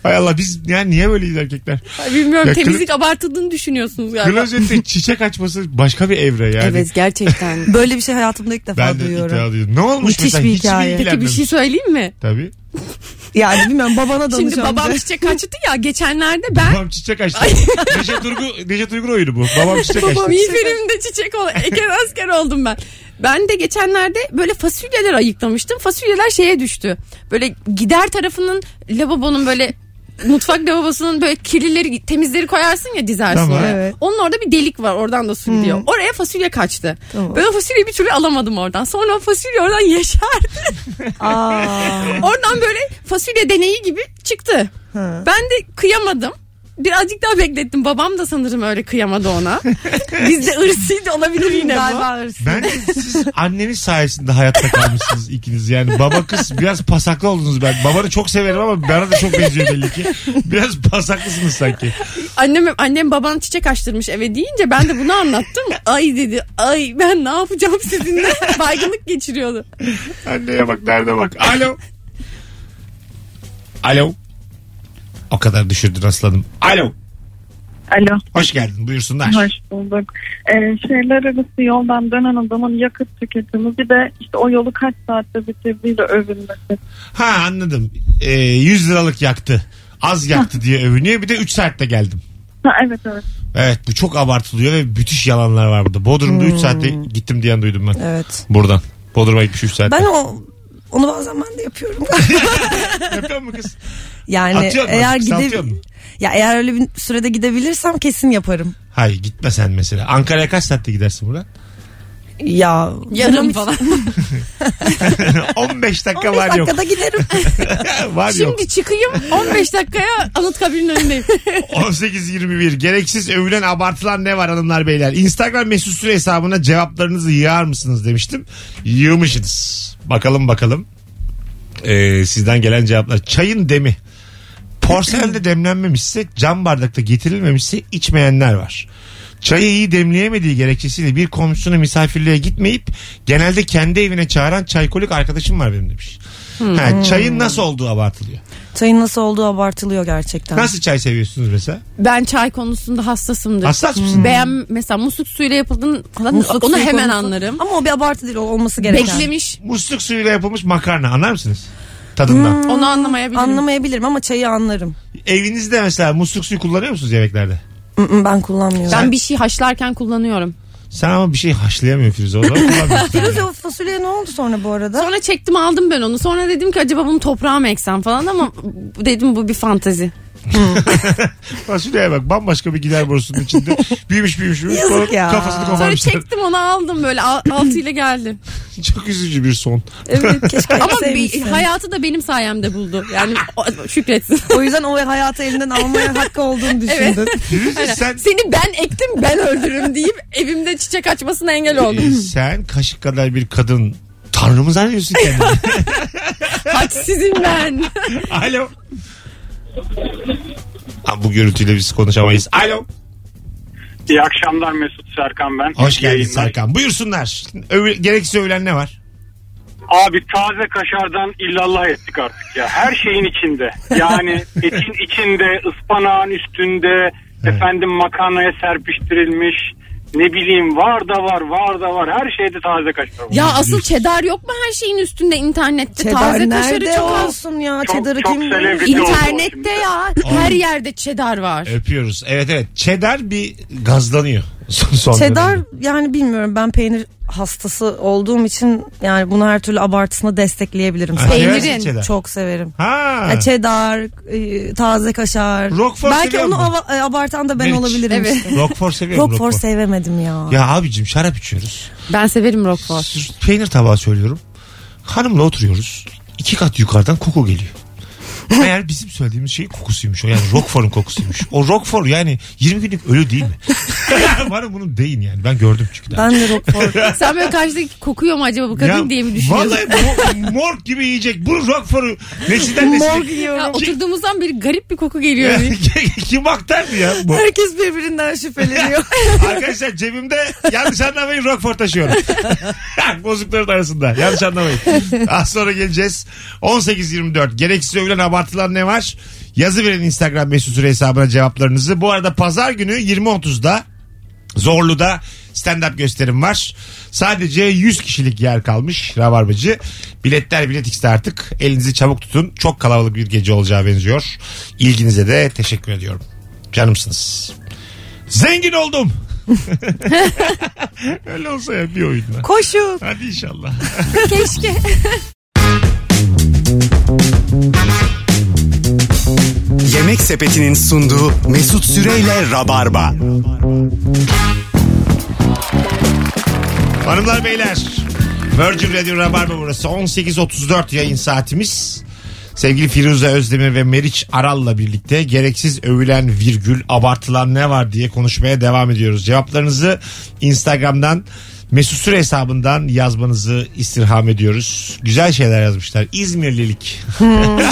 S2: Hay Allah biz yani niye böyleyiz erkekler?
S3: Ay, Bilmiyorum
S2: Ya,
S3: temizlik abartıldığını düşünüyorsunuz galiba.
S2: Klozette çiçek açması başka bir evre yani.
S3: Evet gerçekten.
S4: Böyle bir şey hayatımda ilk defa
S2: Ben de
S4: duyuyorum.
S2: iddia ediyorum. Ne olmuş
S4: Müthiş
S2: mesela?
S4: bir
S2: Hiç mi
S4: hikaye. Peki
S3: Peki bir
S2: ilgilenmemiş?
S3: şey söyleyeyim mi?
S2: Tabii.
S4: Yani bilmiyorum babana danış
S3: Şimdi babam
S4: önce.
S3: çiçek açtı ya geçenlerde ben
S2: Babam çiçek açtı. Neşet Uygur, Neşet Uygur oyunu bu. Babam çiçek açtı.
S3: Babam iyi filmde çiçek ol Eken asker oldum ben. Ben de geçenlerde böyle fasulyeler ayıklamıştım. Fasulyeler şeye düştü. Böyle gider tarafının lavabonun böyle mutfak lavabosunun böyle kirlileri temizleri koyarsın ya dizersin
S2: Tamam.
S3: oraya.
S4: Evet.
S3: Onun orada bir delik var oradan da su gidiyor. Oraya fasulye kaçtı.
S4: Tamam.
S3: Ben o fasulyeyi bir türlü alamadım oradan. Sonra o fasulye oradan yeşerdi.
S4: Aa.
S3: oradan böyle fasulye deneyi gibi çıktı.
S4: Ha.
S3: Ben de kıyamadım. Birazcık daha beklettim. Babam da sanırım öyle kıyamadı ona. Bizde ırsıydı olabilir yine bu.
S4: Galiba hırsız.
S2: Ben siz anneniz sayesinde hayatta kalmışsınız ikiniz. Yani baba kız biraz pasaklı oldunuz ben. Babanı çok severim ama bana da çok benziyor belli ki. Biraz pasaklısınız sanki.
S3: Annem, annem baban çiçek açtırmış eve deyince ben de bunu anlattım. Ay dedi ay ben ne yapacağım sizinle baygınlık geçiriyordu.
S2: Anneye bak derde bak. Alo. Alo. O kadar düşürdün aslanım. Alo.
S8: Alo,
S2: Hoş geldin buyursunlar.
S8: hoş bulduk. Ee, şehirler arası yoldan dönen adamın yakıt tüketimi bir de işte o yolu kaç saatte bitirdiğiyle övülmesi.
S2: Ha anladım. Ee, 100 liralık yaktı. Az yaktı diye övünüyor. Bir de 3 saatte geldim.
S8: Ha, evet evet.
S2: Evet bu
S8: Hmm.
S2: çok abartılıyor ve müthiş yalanlar var burada. Bodrum'da 3 saatte gittim diyen duydum ben.
S4: Evet.
S2: Buradan. Bodrum'a gitmiş 3 saatte.
S4: Ben o onu bazen ben de yapıyorum.
S2: Yapıyor mu kız?
S4: yani
S2: Atıyor mu?
S4: eğer
S2: Kısaltıyor mu?
S4: gide ya eğer öyle bir sürede gidebilirsem kesin yaparım.
S2: Hayır gitme sen mesela. Ankara'ya kaç saatte gidersin buradan?
S4: Ya
S3: Yarım falan.
S2: 15 dakika
S4: 15
S2: var yok.
S4: dakikada giderim.
S2: var yok.
S3: Şimdi çıkayım 15 dakikaya Anıtkabir'in önündeyim.
S2: 18.21 gereksiz övülen abartılan ne var hanımlar beyler? Instagram mesut süre hesabına cevaplarınızı yığar mısınız demiştim. Yığmışsınız. Bakalım bakalım. Ee, sizden gelen cevaplar. Çayın demi. Porselde demlenmemişse cam bardakta getirilmemişse içmeyenler var. Çayı iyi demleyemediği gerekçesiyle bir komşusuna misafirliğe gitmeyip genelde kendi evine çağıran çaykolik arkadaşım var benim demiş. Ha, çayın nasıl olduğu abartılıyor.
S4: Çayın nasıl olduğu abartılıyor gerçekten.
S2: Nasıl çay seviyorsunuz mesela?
S3: Ben çay konusunda hassasımdır.
S2: Hassas mısın?
S3: Beğen mesela musluk suyuyla yapıldığını falan
S4: Musluk
S3: onu
S4: suyu
S3: hemen
S4: konusu-
S3: anlarım.
S4: Ama o bir abartı değil o olması gereken.
S3: Beklemiş
S2: musluk suyuyla yapılmış makarna anlar mısınız? Tadından.
S4: Hmm.
S3: onu anlamayabilirim.
S4: Anlamayabilirim ama çayı anlarım.
S2: Evinizde mesela musluk suyu kullanıyor musunuz yemeklerde?
S4: Mm-mm, ben kullanmıyorum.
S3: ben bir şey haşlarken kullanıyorum.
S2: Sen ama bir şey haşlayamıyorsun Firuze. O zaman kullanmıyorsun.
S4: Firuze o fasulyeye ne oldu sonra bu arada?
S3: Sonra çektim aldım ben onu. Sonra dedim ki acaba bunu toprağa mı eksem falan ama bu- dedim bu bir fantazi.
S2: Fasulyeye bak bambaşka bir gider borusunun içinde. Büyümüş büyümüş büyümüş.
S4: Yazık
S2: Sonra
S4: ya.
S2: Kafasını
S3: Sonra
S2: koparmışlar.
S3: çektim onu aldım böyle al- altıyla geldi.
S2: Çok üzücü bir son.
S4: Evet keşke
S3: Ama bir,
S4: sevmişsin.
S3: hayatı da benim sayemde buldu. Yani o- şükretsin.
S4: O yüzden o hayatı elinden almaya hakkı olduğunu düşündün.
S3: Evet.
S2: Firuze sen,
S3: Seni ben ektim ben öldürürüm deyip evimde çiçek açmasına engel
S2: e,
S3: oldum.
S2: sen kaşık kadar bir kadın Tanrı mı zannediyorsun kendini?
S3: Hadsizim ben.
S2: Alo. Aa, bu görüntüyle biz konuşamayız. Alo.
S9: İyi akşamlar Mesut Serkan ben.
S2: Hoş
S9: İyi
S2: geldin
S9: yayınlar.
S2: Serkan. Buyursunlar. Öv- gereksiz övülen ne var?
S9: Abi taze kaşardan illallah ettik artık ya. Her şeyin içinde. Yani etin içinde, ıspanağın üstünde, efendim makarnaya serpiştirilmiş. Ne bileyim var da var, var da var. Her şeyde taze kaşar var.
S3: Ya asıl çedar yok mu her şeyin üstünde internette?
S4: Çedar
S3: Taze kaşarı
S4: nerede
S3: çok az.
S4: olsun ya?
S9: Çok-
S4: Çedarı
S9: çok
S4: kim bilir?
S9: selebriti oldu o şimdi.
S3: İnternette ya her yerde çedar var.
S2: Öpüyoruz. Evet evet. Çedar bir gazlanıyor. Son, son
S4: Çedar
S2: dönemde.
S4: yani bilmiyorum ben peynir hastası olduğum için yani bunu her türlü abartısına destekleyebilirim.
S2: Ha,
S4: Peynir
S2: seversin
S3: peynirin
S2: çedar.
S4: çok severim.
S2: Ha.
S4: Ya çedar, e, taze kaşar.
S2: Roquefort
S4: Belki
S2: seviyor
S4: onu
S2: musun?
S4: ava- e, abartan da ben
S2: Meriç.
S4: olabilirim
S3: Evet.
S4: işte.
S2: Roquefort seviyorum.
S4: Roquefort sevemedim ya.
S2: Ya abicim şarap içiyoruz.
S3: Ben severim Roquefort.
S2: Sırf Peynir tabağı söylüyorum. Hanımla oturuyoruz. İki kat yukarıdan koku geliyor. Meğer bizim söylediğimiz şey kokusuymuş o. Yani Roquefort'un kokusuymuş. O Roquefort yani 20 günlük ölü değil mi? Bana bunu deyin yani. Ben gördüm çünkü. daha.
S4: Ben de Roquefort.
S3: Sen böyle karşıdaki kokuyor mu acaba bu kadın
S2: Ya
S3: diye mi düşünüyorsun?
S2: Vallahi mo- morg gibi yiyecek. Bu Roquefort'u nesilden nesile.
S4: Mor giyiyorum.
S3: Ya oturduğumuzdan beri garip bir koku geliyor. Hani
S2: Kim aktardı ya bu?
S4: Herkes birbirinden şüpheleniyor.
S2: Arkadaşlar cebimde yanlış anlamayın Rockford taşıyorum. Bozukların arasında. Yanlış anlamayın. Az sonra geleceğiz. 18.24. Gereksiz övülen abartılan ne var? Yazı verin Instagram mesut süre hesabına cevaplarınızı. Bu arada pazar günü 20.30'da Zorlu'da stand-up gösterim var. Sadece 100 kişilik yer kalmış Rabarbacı. Biletler Bilet X'te artık. Elinizi çabuk tutun. Çok kalabalık bir gece olacağı benziyor. İlginize de teşekkür ediyorum. Canımsınız. Zengin oldum. Öyle olsa ya bir oyunla.
S4: Koşun.
S2: Hadi inşallah.
S3: Keşke.
S1: Yemek Sepeti'nin sunduğu Mesut Süreyle Rabarba.
S2: Hanımlar beyler. Virgin Radio Rabarba burası. 18.34 yayın saatimiz. Sevgili Firuze Özdemir ve Meriç Aral'la birlikte gereksiz övülen virgül abartılan ne var diye konuşmaya devam ediyoruz. Cevaplarınızı Instagram'dan Mesut Süre hesabından yazmanızı istirham ediyoruz. Güzel şeyler yazmışlar. İzmirlilik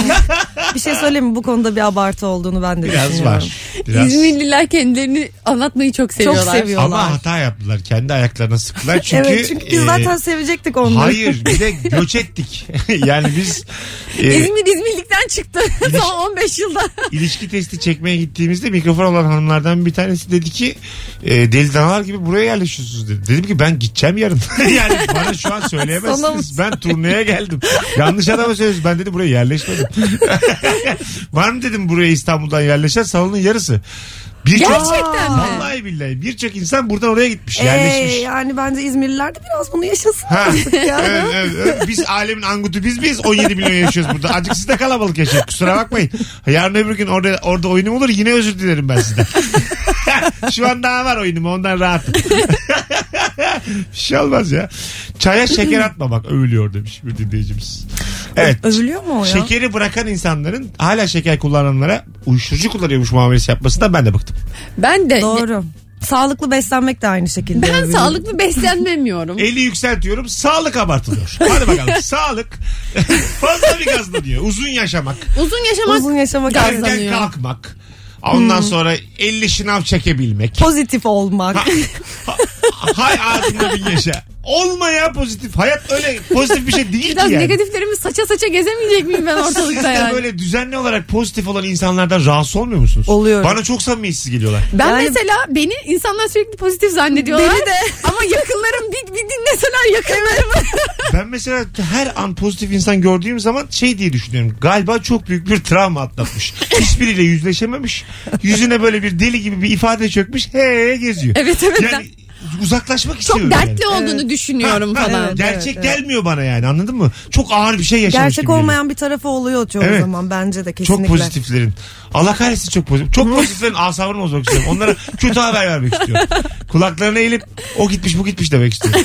S4: Bir şey söyleyeyim mi? Bu konuda bir abartı olduğunu ben de
S2: biraz
S4: düşünüyorum.
S2: var. Biraz.
S3: İzmirliler kendilerini anlatmayı çok seviyorlar.
S4: Çok seviyor.
S2: Ama hata yaptılar. Kendi ayaklarına sıktılar. Çünkü,
S4: evet çünkü biz
S2: e,
S4: zaten sevecektik onları.
S2: Hayır bir de göç ettik. yani biz e,
S3: İzmir İzmirlikten çıktı son 15 yılda.
S2: ilişki testi çekmeye gittiğimizde mikrofon olan hanımlardan bir tanesi dedi ki e, deli danalar gibi buraya yerleşiyorsunuz dedi. Dedim ki ben gideceğim yarın. yani bana şu an söyleyemezsiniz. ben turneye geldim. Yanlış adama söylüyorsunuz. Ben dedi buraya yerleşmedim. Var mı dedim buraya İstanbul'dan yerleşen salonun yarısı. Birçok-
S3: Gerçekten mi?
S2: Vallahi billahi birçok insan buradan oraya gitmiş
S4: Ee,
S2: yerleşmiş.
S4: yani bence İzmirliler de biraz bunu yaşasın.
S2: Ha.
S4: Ya.
S2: Evet, evet, evet. Biz alemin angutu biz miyiz? 17 milyon yaşıyoruz burada. Azıcık siz de kalabalık yaşayın. Kusura bakmayın. Yarın öbür gün orada, orada oyunum olur. Yine özür dilerim ben sizden. Şu an daha var oyunum. Ondan rahatım. Bir şey olmaz ya. Çaya şeker atma bak. Övülüyor demiş bir dinleyicimiz. Evet.
S4: Övülüyor mu o ya?
S2: Şekeri bırakan insanların hala şeker kullananlara uyuşturucu kullanıyormuş muamelesi yapmasından ben de bıktım.
S3: Ben de
S4: Doğru. Sağlıklı beslenmek de aynı şekilde.
S3: ben
S4: övülüyor.
S3: sağlıklı beslenmemiyorum.
S2: 50 yükseltiyorum. Sağlık abartılıyor. Hadi bakalım. sağlık fazla bir gazlanıyor. Uzun yaşamak.
S3: Uzun yaşamak
S4: Uzun yaşamak lazım.
S2: Erken kalkmak. Ondan
S3: Hmm.
S2: sonra 50 şınav çekebilmek.
S4: Pozitif olmak.
S2: Ha- Hay ağzında bin yaşa. Olmaya pozitif. Hayat öyle pozitif bir şey değil
S3: Biraz
S2: ki yani.
S3: negatiflerimi saça saça gezemeyecek miyim ben
S2: Siz
S3: ortalıkta
S2: de
S3: yani?
S2: böyle düzenli olarak pozitif olan insanlardan rahatsız olmuyor musunuz?
S4: Oluyorum.
S2: Bana çok samimiyetsiz geliyorlar.
S3: Ben
S4: Yani-
S3: mesela beni insanlar sürekli pozitif zannediyorlar.
S4: Beni de.
S3: Ama yakınlarım bir, bir dinleseler yakınlarım.
S2: Ben mesela her an pozitif insan gördüğüm zaman şey diye düşünüyorum. Galiba çok büyük bir travma atlatmış. Hiçbiriyle yüzleşememiş. Yüzüne böyle bir deli gibi bir ifade çökmüş. He geziyor.
S3: Evet, evet.
S2: Yani uzaklaşmak
S3: Çok
S2: istiyorum.
S3: dertli
S2: yani.
S3: olduğunu düşünüyorum
S2: Ha, ha,
S3: falan.
S2: Gerçek
S4: evet,
S2: gelmiyor bana yani anladın mı? Çok ağır bir şey yaşamış
S4: Gerçek
S2: gibi geliyor.
S4: olmayan bir tarafı oluyor çoğu
S2: Evet.
S4: zaman bence de
S2: Çok
S4: kesinlikle.
S2: pozitiflerin. Allah kahretsin çok pozitif. Çok pozitiflerin asabını bozmak istiyorum. Onlara kötü haber vermek istiyorum. Kulaklarına eğilip o gitmiş bu gitmiş demek istiyorum.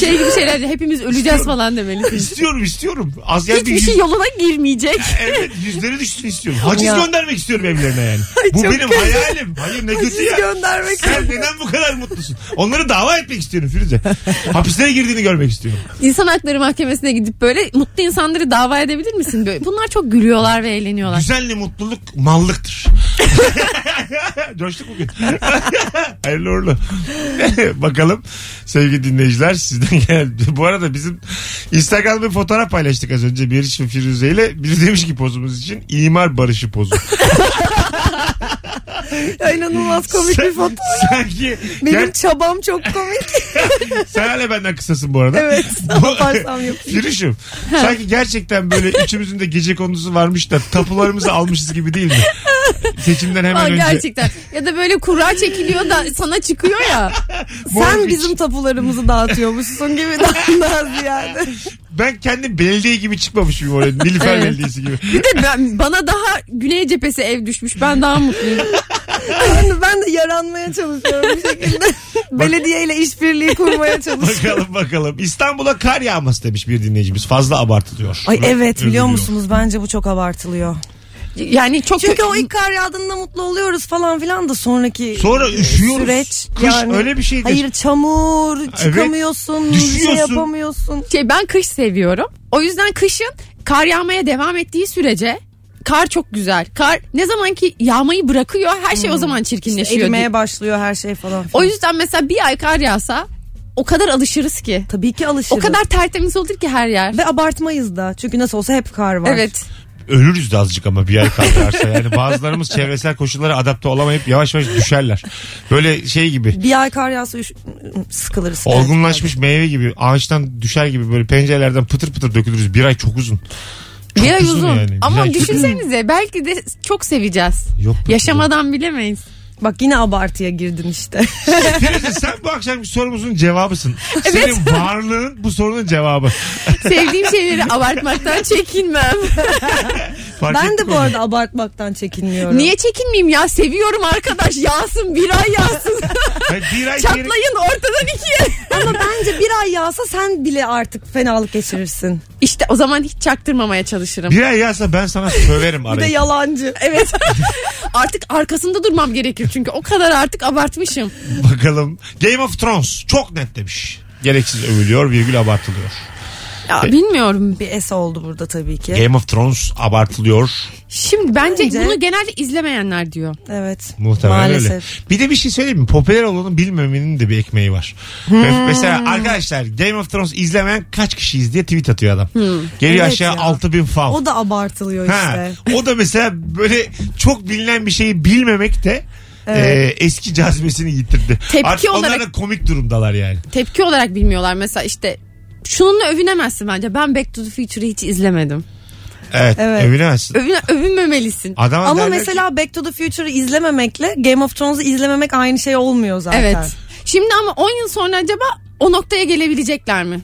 S3: Şey gibi şeyler hepimiz öleceğiz falan demelisin.
S2: İstiyorum istiyorum. Az yani bir
S3: Hiçbir
S2: yüz-
S3: şey yoluna girmeyecek.
S2: Evet yüzleri düşsün istiyorum. Haciz
S4: Ya.
S2: göndermek istiyorum evlerine yani. bu
S4: çok
S2: benim
S4: kötü.
S2: hayalim. Hayır ne kötü
S4: Siz
S2: ya.
S4: göndermek
S2: Sen neden bu kadar mutlusun? Onları dava etmek istiyorum Firuze. Hapislere girdiğini görmek istiyorum.
S3: İnsan Hakları Mahkemesi'ne gidip böyle mutlu insanları dava edebilir misin? Böyle, bunlar çok gülüyorlar ve eğleniyorlar.
S2: Düzenli mutluluk mallıktır. Coştuk bugün. Hayırlı uğurlu. Bakalım sevgili dinleyiciler sizden geldi. Bu arada bizim Instagram'da bir fotoğraf paylaştık az önce Beriş ve Firuze ile. Biri demiş ki pozumuz için imar barışı pozu.
S4: Ya inanılmaz komik bir foto.
S2: Sanki
S4: Benim
S2: ger-
S4: çabam çok komik.
S2: sen hala benden kısasın bu arada.
S4: evet.
S2: Bu-
S4: Yaparsam yok.
S2: Firuşum. Sanki gerçekten böyle üçümüzün de gece konusu varmış da tapularımızı almışız gibi değil mi? Seçimden hemen
S3: Aa,
S2: önce.
S3: gerçekten. Ya da böyle kura çekiliyor da sana çıkıyor ya.
S2: Mortgage.
S4: Sen bizim tapularımızı dağıtıyormuşsun gibi daha ziyade.
S2: Ben kendim belediye gibi çıkmamış mıyım oraya? Nilüfer
S3: Evet.
S2: Belediyesi gibi.
S3: Bir de ben, bana daha güney cephesi ev düşmüş. Ben daha mutluyum.
S4: Ben de, ben de yaranmaya çalışıyorum bir şekilde. Belediyeyle işbirliği kurmaya çalışıyorum.
S2: Bakalım bakalım. İstanbul'a kar yağması demiş bir dinleyicimiz. Fazla abartılıyor.
S4: Ay evet biliyor
S2: Üzülüyor.
S4: musunuz bence bu çok abartılıyor.
S3: Yani çok
S4: Çünkü o ilk kar yağdığında mutlu oluyoruz falan filan da sonraki e,
S2: Sonra üşüyoruz.
S4: süreç.
S2: Kış öyle bir şeydir.
S4: Hayır çamur çıkamıyorsun bir şey
S2: Düşüyorsun.
S4: yapamıyorsun.
S3: şey ben kış seviyorum. O yüzden kışın kar yağmaya devam ettiği sürece kar çok güzel. Kar ne zaman ki yağmayı bırakıyor her şey o zaman çirkinleşiyor.
S4: Erimeye başlıyor her şey falan.
S3: o
S4: filan.
S3: yüzden mesela bir ay kar yağsa o kadar alışırız ki.
S4: Tabii ki alışırız.
S3: O kadar tertemiz olur ki her yer.
S4: ve abartmayız da. Çünkü nasıl olsa hep kar var.
S3: Evet.
S2: Ölürüz de azıcık ama bir yer kalkarsa. Yani bazılarımız çevresel koşullara adapte olamayıp yavaş yavaş düşerler. Böyle şey gibi.
S4: Bir ay kar yağsa üş- sıkılırız.
S2: Olgunlaşmış meyve gibi ağaçtan düşer gibi böyle pencerelerden pıtır pıtır dökülürüz. Bir ay çok uzun. Çok
S3: bir ay uzun.
S2: yani. Bir
S3: Ama
S2: ay çok
S3: düşünsenize belki de çok seveceğiz.
S2: Yok be,
S3: Yaşamadan bilemeyiz.
S4: Bak yine abartıya girdin işte.
S2: Firuze sen bu akşamki sorumuzun cevabısın. Senin varlığın bu sorunun cevabı.
S3: Sevdiğim şeyleri abartmaktan çekinmem.
S2: Fark
S4: ben
S2: ettik
S4: de bu
S2: onu.
S4: arada abartmaktan çekinmiyorum.
S3: Niye çekinmeyeyim ya? Seviyorum arkadaş. Yağsın bir ay yağsın.
S2: Hayır, bir ay geri-
S3: Çatlayın ortadan ikiye.
S4: Ama bence bir ay yağsa sen bile artık fenalık geçirirsin.
S3: İşte o zaman hiç çaktırmamaya çalışırım.
S2: Bir ay yazsa ben sana söverim
S4: Bir de
S2: arayı.
S4: yalancı.
S3: Evet. artık arkasında durmam gerekir çünkü o kadar artık abartmışım.
S2: Bakalım. Game of Thrones çok net demiş. Gereksiz övülüyor virgül abartılıyor.
S3: Ya
S4: E-
S3: bilmiyorum.
S4: Bir S oldu burada tabii ki.
S2: Game of Thrones abartılıyor
S3: Şimdi bence,
S4: Bence-
S3: bunu genelde izlemeyenler diyor.
S4: Evet.
S2: muhtemelen
S4: Maalesef.
S2: öyle. Bir de bir şey söyleyeyim mi? Popüler olanın bilmemenin de bir ekmeği var.
S4: Hmm.
S2: Mesela arkadaşlar Game of Thrones izlemeyen kaç kişiyiz diye tweet atıyor adam. Geliyor
S4: Hmm. Evet
S2: aşağı
S4: ya.
S2: 6000 fav.
S4: O da abartılıyor
S2: Ha,
S4: işte.
S2: o da mesela böyle çok bilinen bir şeyi bilmemek de e, eski cazibesini yitirdi.
S3: Tepki
S2: Artık onlar
S3: olarak-
S2: da komik durumdalar yani.
S3: Tepki olarak bilmiyorlar mesela işte şununla övünemezsin bence. Ben Back to the Future'ı hiç izlemedim.
S2: Evet,
S4: Evet.
S2: övünemezsin.
S3: Övün, övünmemelisin.
S2: Adam
S4: Ama
S2: derler ki-
S4: mesela Back to the Future'ı izlememekle Game of Thrones'u izlememek aynı şey olmuyor zaten.
S3: Evet. Şimdi ama 10 yıl sonra acaba o noktaya gelebilecekler mi?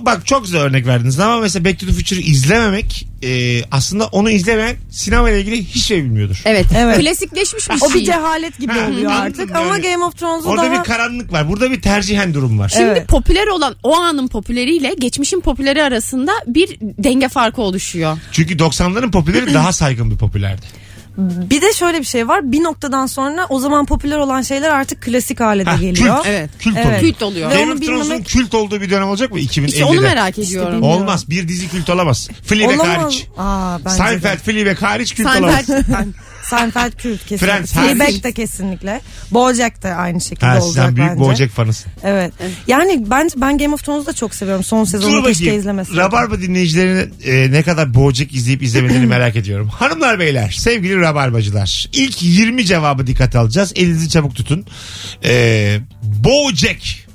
S2: bak çok güzel örnek verdiniz ama mesela Back to the Future'ı izlememek e, aslında onu izlemeyen sinema ile ilgili hiçbir şey bilmiyordur.
S3: Evet.
S4: Evet.
S3: Klasikleşmiş bir
S4: O
S3: şey.
S4: bir cehalet gibi
S2: Ha,
S4: oluyor
S2: anladım
S4: artık
S2: yani.
S4: ama Game of Thrones'u
S2: Orada
S4: daha...
S2: bir karanlık var. Burada bir tercihen durum var.
S3: Şimdi
S4: Evet.
S3: popüler olan o anın popüleriyle geçmişin popüleri arasında bir denge farkı oluşuyor.
S2: Çünkü 90'ların popüleri daha saygın bir popülerdi.
S4: Bir de şöyle bir şey var. Bir noktadan sonra o zaman popüler olan şeyler artık klasik hale de
S2: Ha,
S4: geliyor.
S2: kült.
S3: Evet.
S2: Kült
S4: Evet.
S2: oluyor.
S3: Kült oluyor.
S4: Ve
S2: Game
S4: onu
S2: of Thrones'un
S4: bilmemek-
S2: kült olduğu bir dönem olacak mı? 2050'de.
S3: İşte onu merak ediyorum.
S4: bilmiyorum.
S2: Olmaz. Bir dizi kült olamaz. Fleabag
S4: Olamaz.
S2: hariç.
S4: Aa, bence de.
S2: Seinfeld, Fleabag hariç kült olamaz.
S3: Seinfeld.
S4: Ben- Seinfeld Kürt kesinlikle.
S2: Friends hariç.
S4: Fleabag de kesinlikle. Bojack da aynı şekilde
S2: Ha,
S4: olacak
S2: sen büyük
S4: bence.
S2: Bojack fanısın.
S4: Evet. Yani ben ben Game of Thrones'u da çok seviyorum. Son
S2: Dur
S4: sezonu keşke
S2: bakayım.
S4: izlemeseydim.
S2: Rabarba dinleyicilerinin e, ne kadar Bojack izleyip izlemediğini merak ediyorum. Hanımlar beyler, sevgili Rabarbacılar. ilk 20 cevabı dikkat alacağız. Elinizi çabuk tutun. E, Bojack.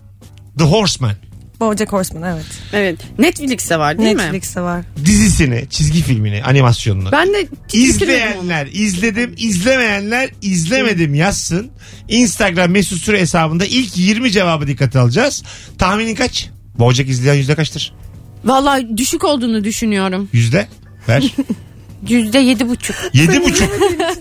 S2: The Horseman
S4: Bojack Horseman evet.
S3: Evet. Netflix'te var değil mi?
S4: Netflix'te var.
S2: dizisini, çizgi filmini, animasyonunu.
S3: Ben de bitirmedim onu.
S2: İzleyenler izledim, izlemeyenler izlemedim yazsın. Instagram mesut süre hesabında ilk 20 cevabı dikkate alacağız. Tahminin kaç? Bojack izleyen yüzde kaçtır?
S3: Vallahi düşük olduğunu düşünüyorum.
S2: Yüzde? Ver.
S3: Yüzde yedi buçuk.
S2: Yedi buçuk.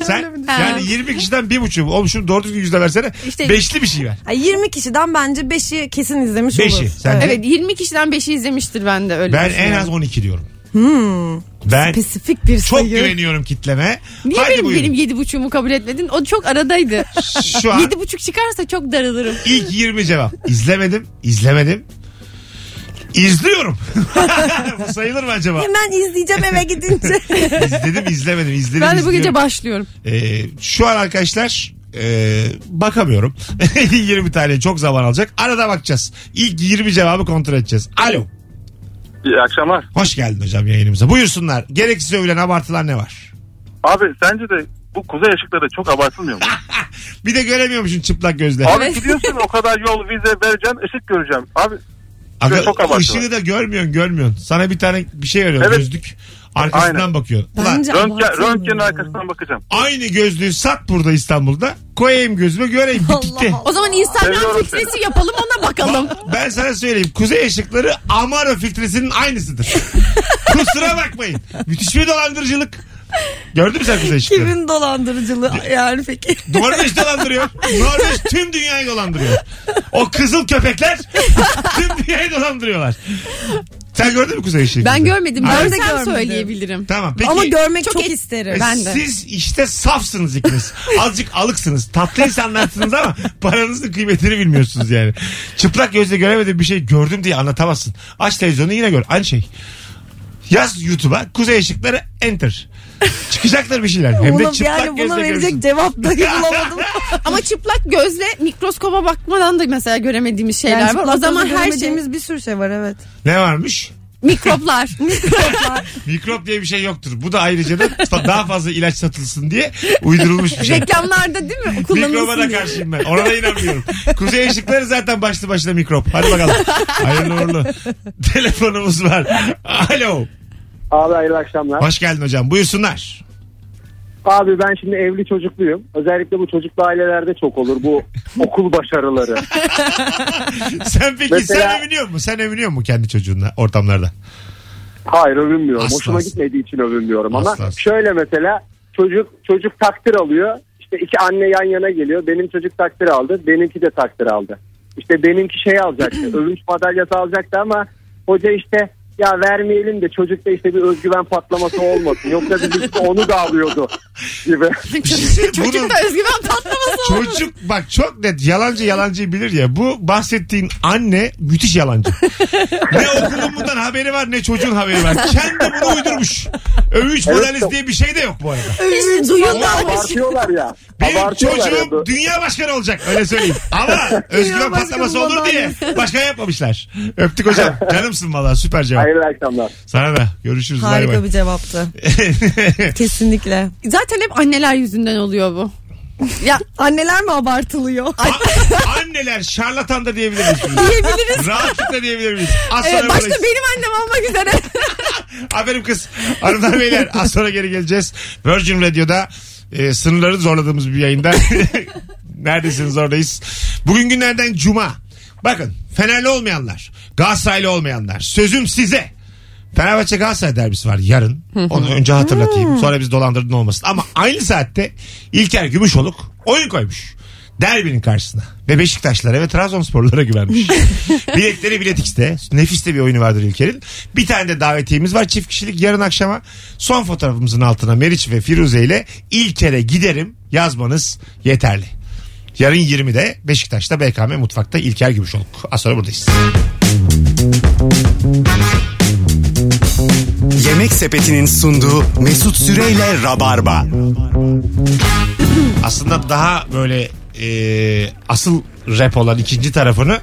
S2: Sen
S3: Ha.
S2: yani 20 kişiden bir buçuk. Oğlum şunu doğru düzgün yüzde versene.
S3: İşte-
S2: Beşli bir şey ver.
S4: Ay, 20 kişiden bence 5'i kesin izlemiş
S2: Beşi,
S4: olur.
S2: sence?
S4: Evet.
S3: Evet 20 kişiden 5'i izlemiştir ben de öyle şey
S2: Ben en
S3: düşünüyorum.
S2: az 12 diyorum. Ben
S4: Spesifik bir
S2: çok
S4: sayı.
S2: güveniyorum kitleme.
S3: Hmm. Niye
S2: Haydi
S3: benim,
S2: buyurun.
S3: benim yedi buçuğumu kabul etmedin? O çok aradaydı.
S2: Şu an
S3: yedi buçuk çıkarsa çok darılırım.
S2: İlk 20 cevap. İzlemedim, izlemedim. İzliyorum. Bu sayılır mı acaba?
S4: Hemen izleyeceğim eve gidince.
S2: İzledim, izlemedim, izledim.
S3: Ben de bu gece
S2: izliyorum.
S3: başlıyorum.
S2: Ee, şu an arkadaşlar e, bakamıyorum. 20 tane çok zaman alacak. Arada bakacağız. İlk 20 cevabı kontrol edeceğiz. Alo.
S5: İyi akşamlar.
S2: Hoş geldin hocam yayınımıza. Buyursunlar. Gereksiz övülen abartılar ne var?
S5: Abi sence de bu kuzey ışıkları çok abartılmıyor mu?
S2: Bir de göremiyormuşsun çıplak gözle.
S5: Abi
S3: Evet.
S5: gidiyorsun o kadar yol vize vereceğim ışık göreceğim. Abi
S2: Aga,
S5: çok abartılar.
S2: ışığı da görmüyorsun görmüyorsun. Sana bir tane bir şey arıyor
S5: Evet.
S2: gözlük. Arkasından
S5: Aynen.
S2: bakıyorsun. Ulan
S4: Bence
S5: röntgen,
S4: abartılmıyor.
S5: röntgenin arkasından bakacağım.
S2: aynı gözlüğü sat burada İstanbul'da. Koyayım gözüme göreyim bitti.
S3: O zaman Instagram
S5: Seviyorum
S3: filtresi yapalım ona bakalım.
S2: Ben sana söyleyeyim. Kuzey ışıkları Amaro filtresinin aynısıdır. Kusura bakmayın. Müthiş bir dolandırıcılık. Gördün mü sen kuzey ışıkları?
S4: Kimin dolandırıcılığı yani peki?
S2: Norveç dolandırıyor. Norveç tüm dünyayı dolandırıyor. O kızıl köpekler tüm dünyayı dolandırıyorlar. Sen gördün mü kuzey ışığı?
S3: Ben görmedim.
S2: Hayır.
S3: Ben
S4: de
S3: sen
S4: görmedim.
S3: söyleyebilirim.
S2: Tamam peki.
S4: Ama görmek çok,
S3: Çok et-
S4: isterim.
S2: E,
S3: Ben de.
S2: Siz işte safsınız ikiniz. Azıcık alıksınız. Tatlı insanlarsınız ama paranızın kıymetini bilmiyorsunuz yani. Çıplak gözle göremediğin bir şey gördüm diye anlatamazsın. Aç televizyonu yine gör. Aynı şey. Yaz YouTube'a Kuzey Işıkları enter. Çıkacaktır bir şeyler. Hem de
S4: Buna-
S2: çıplak
S4: yani
S2: gözle
S4: buna verecek
S2: görürsün.
S4: cevap dahi bulamadım.
S3: Ama çıplak gözle mikroskopa bakmadan da mesela göremediğimiz şeyler
S4: Yani
S3: var. O zaman her şeyimiz
S4: şeyimiz bir sürü şey var evet.
S2: Ne varmış?
S3: mikroplar.
S2: Mikrop diye bir şey yoktur. Bu da ayrıca da fa- daha fazla ilaç satılsın diye uydurulmuş bir şey.
S3: Reklamlarda değil mi?
S2: Mikroba da
S3: Kullanılsın diye.
S2: karşıyım ben. Ona da inanmıyorum. Kuzey ışıkları zaten başlı başına mikrop. Hadi bakalım. Hayırlı uğurlu. Telefonumuz var. Alo.
S9: Abi hayırlı akşamlar.
S2: Hoş geldin hocam. Buyursunlar.
S9: Abi ben şimdi evli çocukluyum. Özellikle bu çocuklu ailelerde çok olur bu okul başarıları.
S2: Sen peki
S9: Mesela-
S2: sen övünüyor musun? Sen övünüyor musun kendi çocuğunla ortamlarda?
S9: Hayır övünmüyorum.
S2: Asla,
S9: Hoşuma
S2: asla.
S9: gitmediği için övünmüyorum ama
S2: Asla, asla.
S9: şöyle mesela çocuk çocuk takdir alıyor. İşte iki anne yan yana geliyor. Benim çocuk takdir aldı. Benimki de takdir aldı. İşte benimki şey alacaktı. övünç madalyası alacaktı ama hoca işte ya vermeyelim de çocukta işte bir özgüven patlaması olmasın. Yoksa biz işte onu da alıyordu gibi.
S2: şey Bunun-
S3: Çocukta özgüven patlaması oldu.
S2: Çocuk bak çok net yalancı yalancıyı bilir ya. Bu bahsettiğin anne müthiş yalancı. ne okulun bundan haberi var ne çocuğun haberi var. Kendi bunu uydurmuş. Övünç modelist diye bir şey de yok bu arada.
S3: Hiç
S4: şey
S3: duyulmamış.
S9: Abartıyorlar ya.
S2: Benim
S9: Abartıyorlar ya.
S2: çocuğum dünya başkanı olacak öyle söyleyeyim. Ama özgüven
S4: Dünya
S2: patlaması
S4: başkanı
S2: olur diye başkan yapmamışlar. Öptük hocam. Canımsın valla süper cevap.
S9: Hayırlı akşamlar.
S2: Sana da görüşürüz. Bay
S4: Harika
S2: bay.
S4: bir cevaptı. Kesinlikle.
S3: Zaten hep anneler yüzünden oluyor bu. Ya
S4: Anneler mi abartılıyor?
S2: A- anneler şarlatan da diyebilir miyiz?
S4: Diyebiliriz.
S2: Rahatlıkla diyebilir miyiz? Az
S3: evet,
S2: sonra
S3: başta
S2: buradayız.
S3: benim annem olmak üzere.
S2: Aferin kız. Hanımlar beyler az sonra geri geleceğiz. Virgin Radio'da e, sınırları zorladığımız bir yayında. Neredesiniz oradayız. Bugün günlerden cuma. Bakın Fenerli olmayanlar, Galatasaraylı olmayanlar sözüm size. Fenerbahçe Galatasaray derbisi var yarın. Onu önce hatırlatayım. Sonra biz dolandırdın olmasın. Ama aynı saatte İlker Gümüşoluk oyun koymuş. Derbinin karşısına. Ve Beşiktaşlara ve Trabzonsporlara güvenmiş. Biletleri Bilet X'te. Nefis de bir oyunu vardır İlker'in. Bir tane de davetiyemiz var çift kişilik yarın akşama. Son fotoğrafımızın altına Meriç ve Firuze ile İlker'e giderim yazmanız yeterli. Yarın 20'de Beşiktaş'ta BKM Mutfak'ta İlker Gümüşoluk. Az sonra buradayız.
S1: Yemek Sepeti'nin sunduğu Mesut Süreyle Rabarba.
S2: aslında daha böyle e, asıl rap olan ikinci tarafını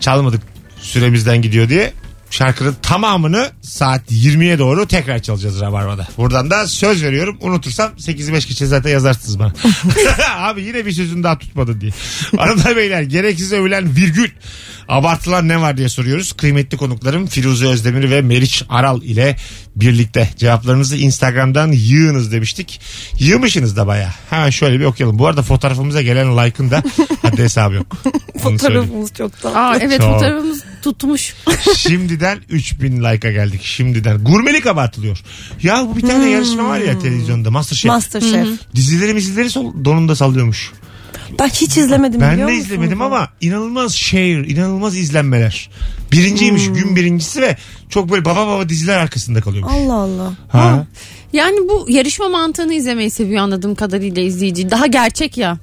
S2: çalmadık süremizden gidiyor diye. Şarkının tamamını saat 20'ye doğru tekrar çalacağız Rabarba'da. Buradan da söz veriyorum. Unutursam 8'i 5 geçe zaten yazarsınız bana. Abi yine bir sözünü daha tutmadın diye. Hanımlar beyler gereksiz övülen virgül abartılan ne var diye soruyoruz. Kıymetli konuklarım Firuze Özdemir ve Meriç Aral ile birlikte cevaplarınızı Instagram'dan yığınız demiştik. Yığmışsınız da baya. Hemen şöyle bir okuyalım. Bu arada fotoğrafımıza gelen like'ın da haddi hesabı yok. Onu söyleyeyim.
S4: Fotoğrafımız çok da.
S3: Aa, evet
S2: Çok.
S3: fotoğrafımız tutmuş.
S2: Şimdiden 3000 like'a geldik. Şimdiden. Gurmelik abartılıyor. Ya bu bir tane
S4: Hmm.
S2: yarışma var ya televizyonda. Masterchef.
S4: Masterchef.
S2: Dizileri mizileri sol- donunda sallıyormuş.
S4: Ben hiç izlemedim
S2: Ben
S4: biliyor
S2: de
S4: musun?
S2: izlemedim ama inanılmaz share, inanılmaz izlenmeler. Birinciymiş,
S4: Hmm.
S2: gün birincisi ve çok böyle baba baba diziler arkasında kalıyormuş.
S4: Allah Allah.
S2: Ha.
S3: Yani bu yarışma mantığını izlemeyi seviyor anladığım kadarıyla izleyici. Daha gerçek ya.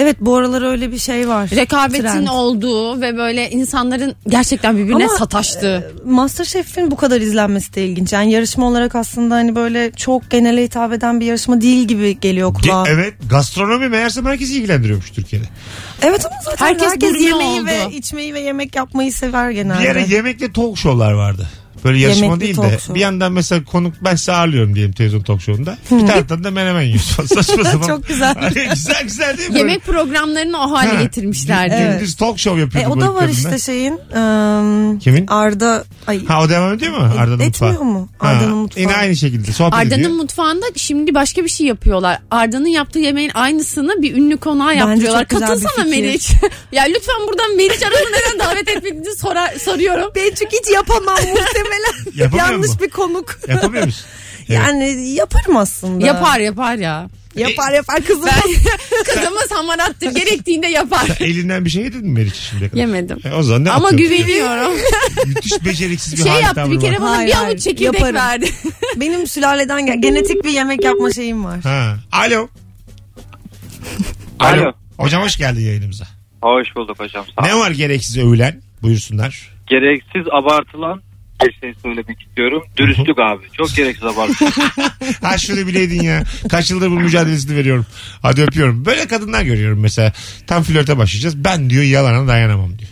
S4: Evet bu aralar öyle bir şey var.
S3: Rekabetin
S4: Trend.
S3: olduğu ve böyle insanların gerçekten birbirine
S4: Ama, e,
S3: sataştığı.
S4: Masterchef'in bu kadar izlenmesi de ilginç. Yani yarışma olarak aslında hani böyle çok genele hitap eden bir yarışma değil gibi geliyor
S2: Ge-
S4: kulağa. evet.
S2: evet, gastronomi meğerse herkesi ilgilendiriyormuş Türkiye'de.
S4: ama zaten
S3: Herkes
S4: herkes,
S3: gurme
S4: yemeği
S3: oldu.
S4: ve içmeyi ve yemek yapmayı sever genelde.
S2: Bir ara yemekle talk show'lar vardı. Böyle yarışma
S4: Yemekli
S2: değil
S4: talk
S2: de
S4: show.
S2: bir yandan mesela konuk ben size ağırlıyorum diyelim televizyon talk show'unda. Bir taraftan da menemen yiyorsun. Saçma sapan.
S4: Çok güzel.
S2: Hani güzel güzel değil mi?
S3: Yemek programlarını o hale
S2: Ha.
S3: getirmişlerdi.
S2: Böyle Gündüz talk show
S4: E,
S2: yapıyordu.
S4: o da var
S2: bölüklerinde.
S4: işte şeyin. ım,
S2: Kimin?
S4: Arda. Ay,
S2: Ha o devam ediyor mu? Arda'nın mutfağı.
S4: E, etmiyor mu?
S2: Ha,
S4: Arda'nın mutfağı.
S2: Yine aynı şekilde sohbet ediyor.
S3: Arda'nın mutfağında şimdi başka bir şey yapıyorlar. Arda'nın yaptığı yemeğin aynısını bir ünlü konağa yaptırıyorlar.
S4: çok güzel bir
S3: Katılsana
S4: fikir.
S3: Meriç. ya lütfen buradan Meriç aranı neden davet etmediğini sorar, soruyorum.
S4: Ben çünkü hiç yapamam muhtemelen.
S2: Yapamıyor
S4: Yanlış
S2: mu?
S4: bir konuk.
S2: Yapamıyor musun? Evet.
S4: Yani yaparım aslında. E,
S3: Yapar yapar ya.
S4: Yapar yapar kızım.
S3: Kızımız hamarattır. Gerektiğinde yapar.
S2: Elinden bir şey yedin mi Meriç şimdiye kadar?
S3: Yemedim.
S2: E, o zaman ne
S3: Ama
S2: atıyorum?
S3: güveniyorum.
S2: Müthiş beceriksiz bir
S3: şey
S2: hali
S3: yaptı
S2: tavrı
S3: bir kere
S2: var.
S3: bana
S4: Hayır,
S3: bir
S4: hayır.
S3: avuç çekirdek
S4: Yaparım.
S3: verdi.
S4: Benim sülaleden gel- genetik bir yemek yapma şeyim var.
S2: Ha. Alo.
S5: Alo.
S2: Hocam hoş geldin yayınımıza.
S5: Hoş bulduk hocam. Sağ
S2: Ne var gereksiz övülen? Buyursunlar.
S5: Gereksiz abartılan bir şey söylemek istiyorum. Dürüstlük abi. Çok gereksiz abartılan.
S2: Ha şunu bileydin ya. Kaç yıldır bu mücadelesini veriyorum. Hadi öpüyorum. Böyle kadınlar görüyorum mesela. Tam flörte başlayacağız. Ben diyor yalana dayanamam diyor.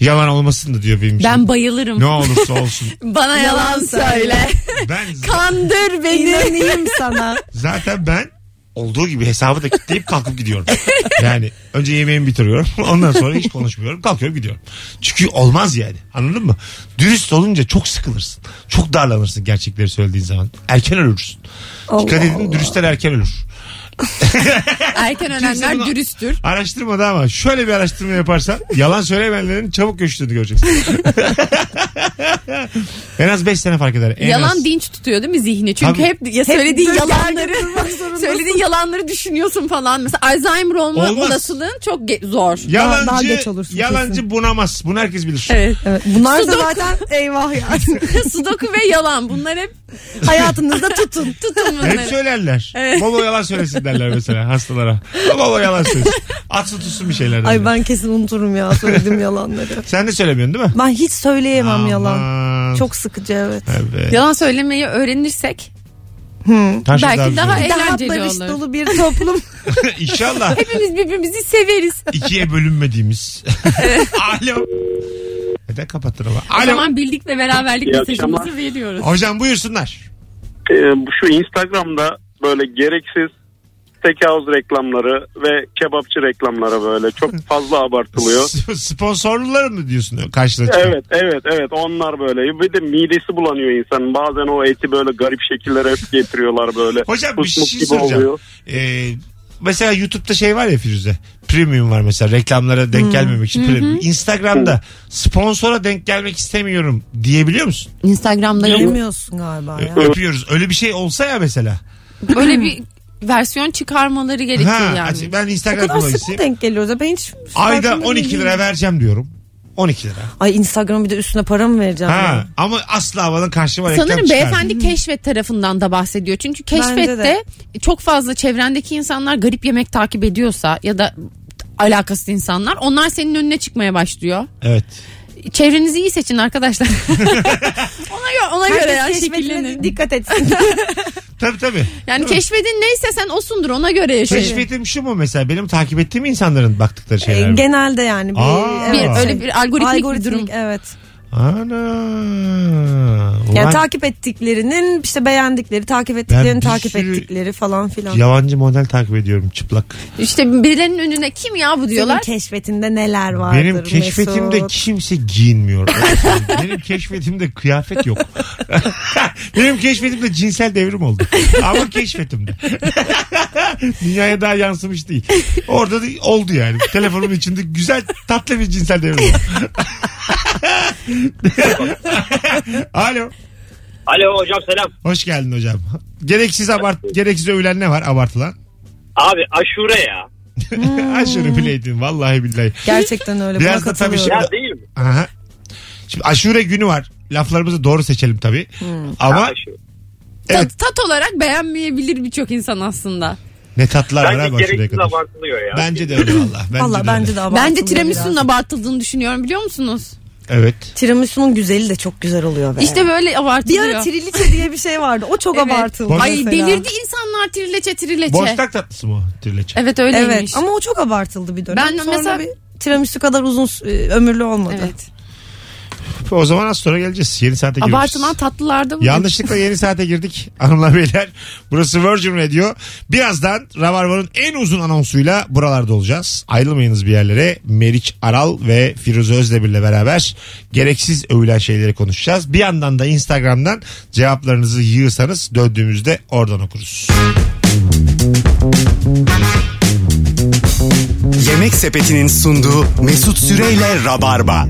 S2: Yalan olmasın da diyor benim için.
S3: Ben bayılırım.
S2: Ne olursa olsun.
S3: Bana yalan söyle.
S2: Ben
S3: Kandır beni.
S4: İnanayım sana.
S2: zaten ben olduğu gibi hesabı da kilitleyip kalkıp gidiyorum. Yani önce yemeğimi bitiriyorum. Ondan sonra hiç konuşmuyorum. Kalkıyorum gidiyorum. Çünkü olmaz yani. Anladın mı? Dürüst olunca çok sıkılırsın. Çok darlanırsın gerçekleri söylediğin zaman. Erken ölürsün.
S4: Oh,
S2: Dikkat edin dürüstler erken ölür.
S3: Erken ölenler
S2: buna-
S3: dürüsttür.
S2: Araştırmada ama şöyle bir araştırma yaparsan yalan söylemeyenlerin çabuk göçtüğünü göreceksin. en az 5 sene fark eder. En
S3: Yalan
S2: az.
S3: dinç tutuyor değil mi zihni? Çünkü
S2: Tabii.
S3: hep ya söylediğin
S4: böyle
S3: yalanları
S4: yerde durmak zorundasın.
S3: söylediğin yalanları düşünüyorsun falan. Mesela Alzheimer olma
S2: Olmaz.
S3: olasılığın çok ge- zor.
S2: Yalancı,
S4: Daha- daha geç olursun
S2: yalancı bunamaz. Bunu herkes bilir.
S3: Evet.
S4: Evet, bunlar da
S3: Sudoku.
S4: zaten eyvah ya.
S3: Sudoku ve yalan bunlar hep
S4: Hayatınızda
S3: tutun
S4: tutun.
S2: Hep
S3: bunları.
S2: söylerler. Bol bol yalan söylesin derler mesela hastalara. Bol bol yalan söylesin. Atsın tutsun bir şeyler. derler.
S4: Ay ben kesin unuturum ya söylediğim yalanları.
S2: Sen de söylemiyorsun değil mi?
S4: Ben hiç söyleyemem yalan.
S2: Aman.
S4: Çok sıkıcı evet.
S2: Evet.
S3: Yalan söylemeyi öğrenirsek
S2: Taşlı daha
S3: belki daha
S2: güzel.
S4: Daha
S3: eğlenceli
S4: barış
S3: olur.
S4: dolu bir toplum.
S2: İnşallah
S3: Hepimiz birbirimizi severiz.
S2: ikiye bölünmediğimiz. Alo. Neden kapattın ama?
S3: O
S2: Alo.
S3: zaman bildik ve beraberlik
S5: İyi
S3: mesajımızı
S5: akşamlar.
S3: veriyoruz.
S9: Ee,
S2: Hocam buyursunlar.
S5: şu Instagram'da böyle gereksiz
S9: steakhouse reklamları ve kebapçı reklamları böyle çok fazla abartılıyor.
S2: Sponsorluları mı diyorsun karşına çıkan?
S9: Evet evet evet onlar böyle. Bir de midesi bulanıyor insanın. Bazen o eti böyle garip şekillere hep getiriyorlar böyle.
S2: Hocam bir
S9: Kusmuk
S2: şey
S9: gibi
S2: soracağım.
S9: oluyor.
S2: Ee, mesela YouTube'da şey var ya Firuze. Premium var mesela reklamlara
S3: Hmm.
S2: denk gelmemek için premium. Instagram'da sponsora denk gelmek istemiyorum diyebiliyor musun?
S3: Instagram'da yok.
S4: Bilemiyorsun galiba
S2: Ö-
S4: ya.
S2: Öpüyoruz. Öyle bir şey olsa ya mesela.
S3: Böyle bir versiyon çıkarmaları gerekiyor
S2: Ha,
S3: yani.
S2: Ben
S4: O
S2: Instagram
S4: kadar sık mı
S2: kullanıcısıyım.
S4: denk geliyoruz ya ben hiç
S2: şey- Ayda
S4: farkında
S2: 12 lira
S4: değilim.
S2: vereceğim diyorum. 12 lira.
S4: Ay Instagram bir de üstüne para mı vereceğim?
S2: Ha,
S4: Ha.
S2: ama asla bana karşıma reklam
S3: Sanırım
S2: çıkarmıyor.
S3: beyefendi keşfet tarafından da bahsediyor. Çünkü keşfette
S4: de.
S3: çok fazla çevrendeki insanlar garip yemek takip ediyorsa ya da alakasız insanlar onlar senin önüne çıkmaya başlıyor.
S2: Evet.
S3: Çevrenizi iyi seçin arkadaşlar. ona göre, ona göre yani
S4: Herkes keşfetine
S3: şekillenin.
S4: dikkat etsin.
S2: Tabii tabii.
S3: Yani
S2: Değil mi?
S3: keşfedin neyse sen osundur ona göre yaşayın.
S2: Keşfetim şu mu mesela benim takip ettiğim insanların baktıkları şeyler. mi?
S4: Genelde yani. Bir,
S2: Aa.
S3: Bir,
S4: evet,
S3: öyle
S4: şey,
S3: bir algoritmik,
S4: algoritmik,
S3: bir durum.
S4: evet.
S2: Ana.
S4: Yani
S2: Ulan
S4: takip ettiklerinin işte beğendikleri, takip
S2: Ben bir
S4: ettiklerini takip
S2: sürü-
S4: ettikleri falan filan.
S2: yabancı model takip ediyorum çıplak.
S3: İşte birilerinin önüne kim ya bu
S4: Senin
S3: diyorlar.
S4: keşfetinde neler vardır
S2: Benim keşfetimde
S4: Mesut?
S2: kimse giyinmiyor. Benim keşfetimde kıyafet yok. Benim keşfetimde cinsel devrim oldu. Ama keşfetimde. Dünyaya daha yansımış değil. Orada da oldu yani. Telefonun içinde güzel tatlı bir cinsel devrim oldu. Alo.
S9: Alo hocam selam.
S2: Hoş geldin hocam. Gereksiz abart gereksiz övülen ne var abartılan?
S9: Abi aşure ya.
S4: Hmm.
S2: Aşırı bileydin vallahi billahi.
S4: Gerçekten öyle.
S2: Biraz
S4: Biraz
S2: da
S4: Buna
S2: tabii
S4: katılıyorum.
S2: şimdi-
S9: Ya değil mi?
S2: Aha. Şimdi aşure günü var. Laflarımızı doğru seçelim tabii.
S4: Hmm.
S2: Ama
S9: Aşure.
S3: Tat-
S2: Evet.
S3: Tat, olarak beğenmeyebilir birçok insan aslında.
S2: ne tatlar var abi
S9: Bence
S2: aşureye
S9: gereksiz
S2: kadar.
S9: abartılıyor ya.
S2: Bence de öyle valla. Bence
S4: Valla
S2: de
S4: bence
S2: öyle.
S4: de abartılıyor
S3: Bence tiramisu'nun
S4: biraz.
S3: abartıldığını düşünüyorum biliyor musunuz?
S2: Evet.
S4: Tiramisu'nun güzeli de çok güzel oluyor be.
S3: İşte böyle
S4: bir
S3: abartılıyor.
S4: ara triliçe diye bir şey vardı. O çok
S3: Evet.
S4: abartıldı.
S3: Ay
S4: mesela.
S3: delirdi insanlar trileçe trileçe.
S2: Boşnak tatlısı mı o trileçe?
S3: Evet öyleymiş.
S4: Evet ama o çok abartıldı bir dönem.
S3: Ben
S4: Sonra
S3: mesela-
S4: bir tiramisu kadar uzun e, ömürlü olmadı.
S3: Evet.
S2: O zaman az sonra geleceğiz. Yeni saate giriyoruz.
S3: Abartılan tatlılarda mı?
S2: Yanlışlıkla yeni saate girdik hanımlar beyler. Burası Virgin Radio. Birazdan Ravarva'nın en uzun anonsuyla buralarda olacağız. Ayrılmayınız bir yerlere. Meriç Aral ve Firuze Özdemir'le beraber gereksiz övülen şeyleri konuşacağız. Bir yandan da Instagram'dan cevaplarınızı yığırsanız döndüğümüzde oradan okuruz.
S1: Yemek Sepeti'nin sunduğu Mesut Süreyle Rabarba.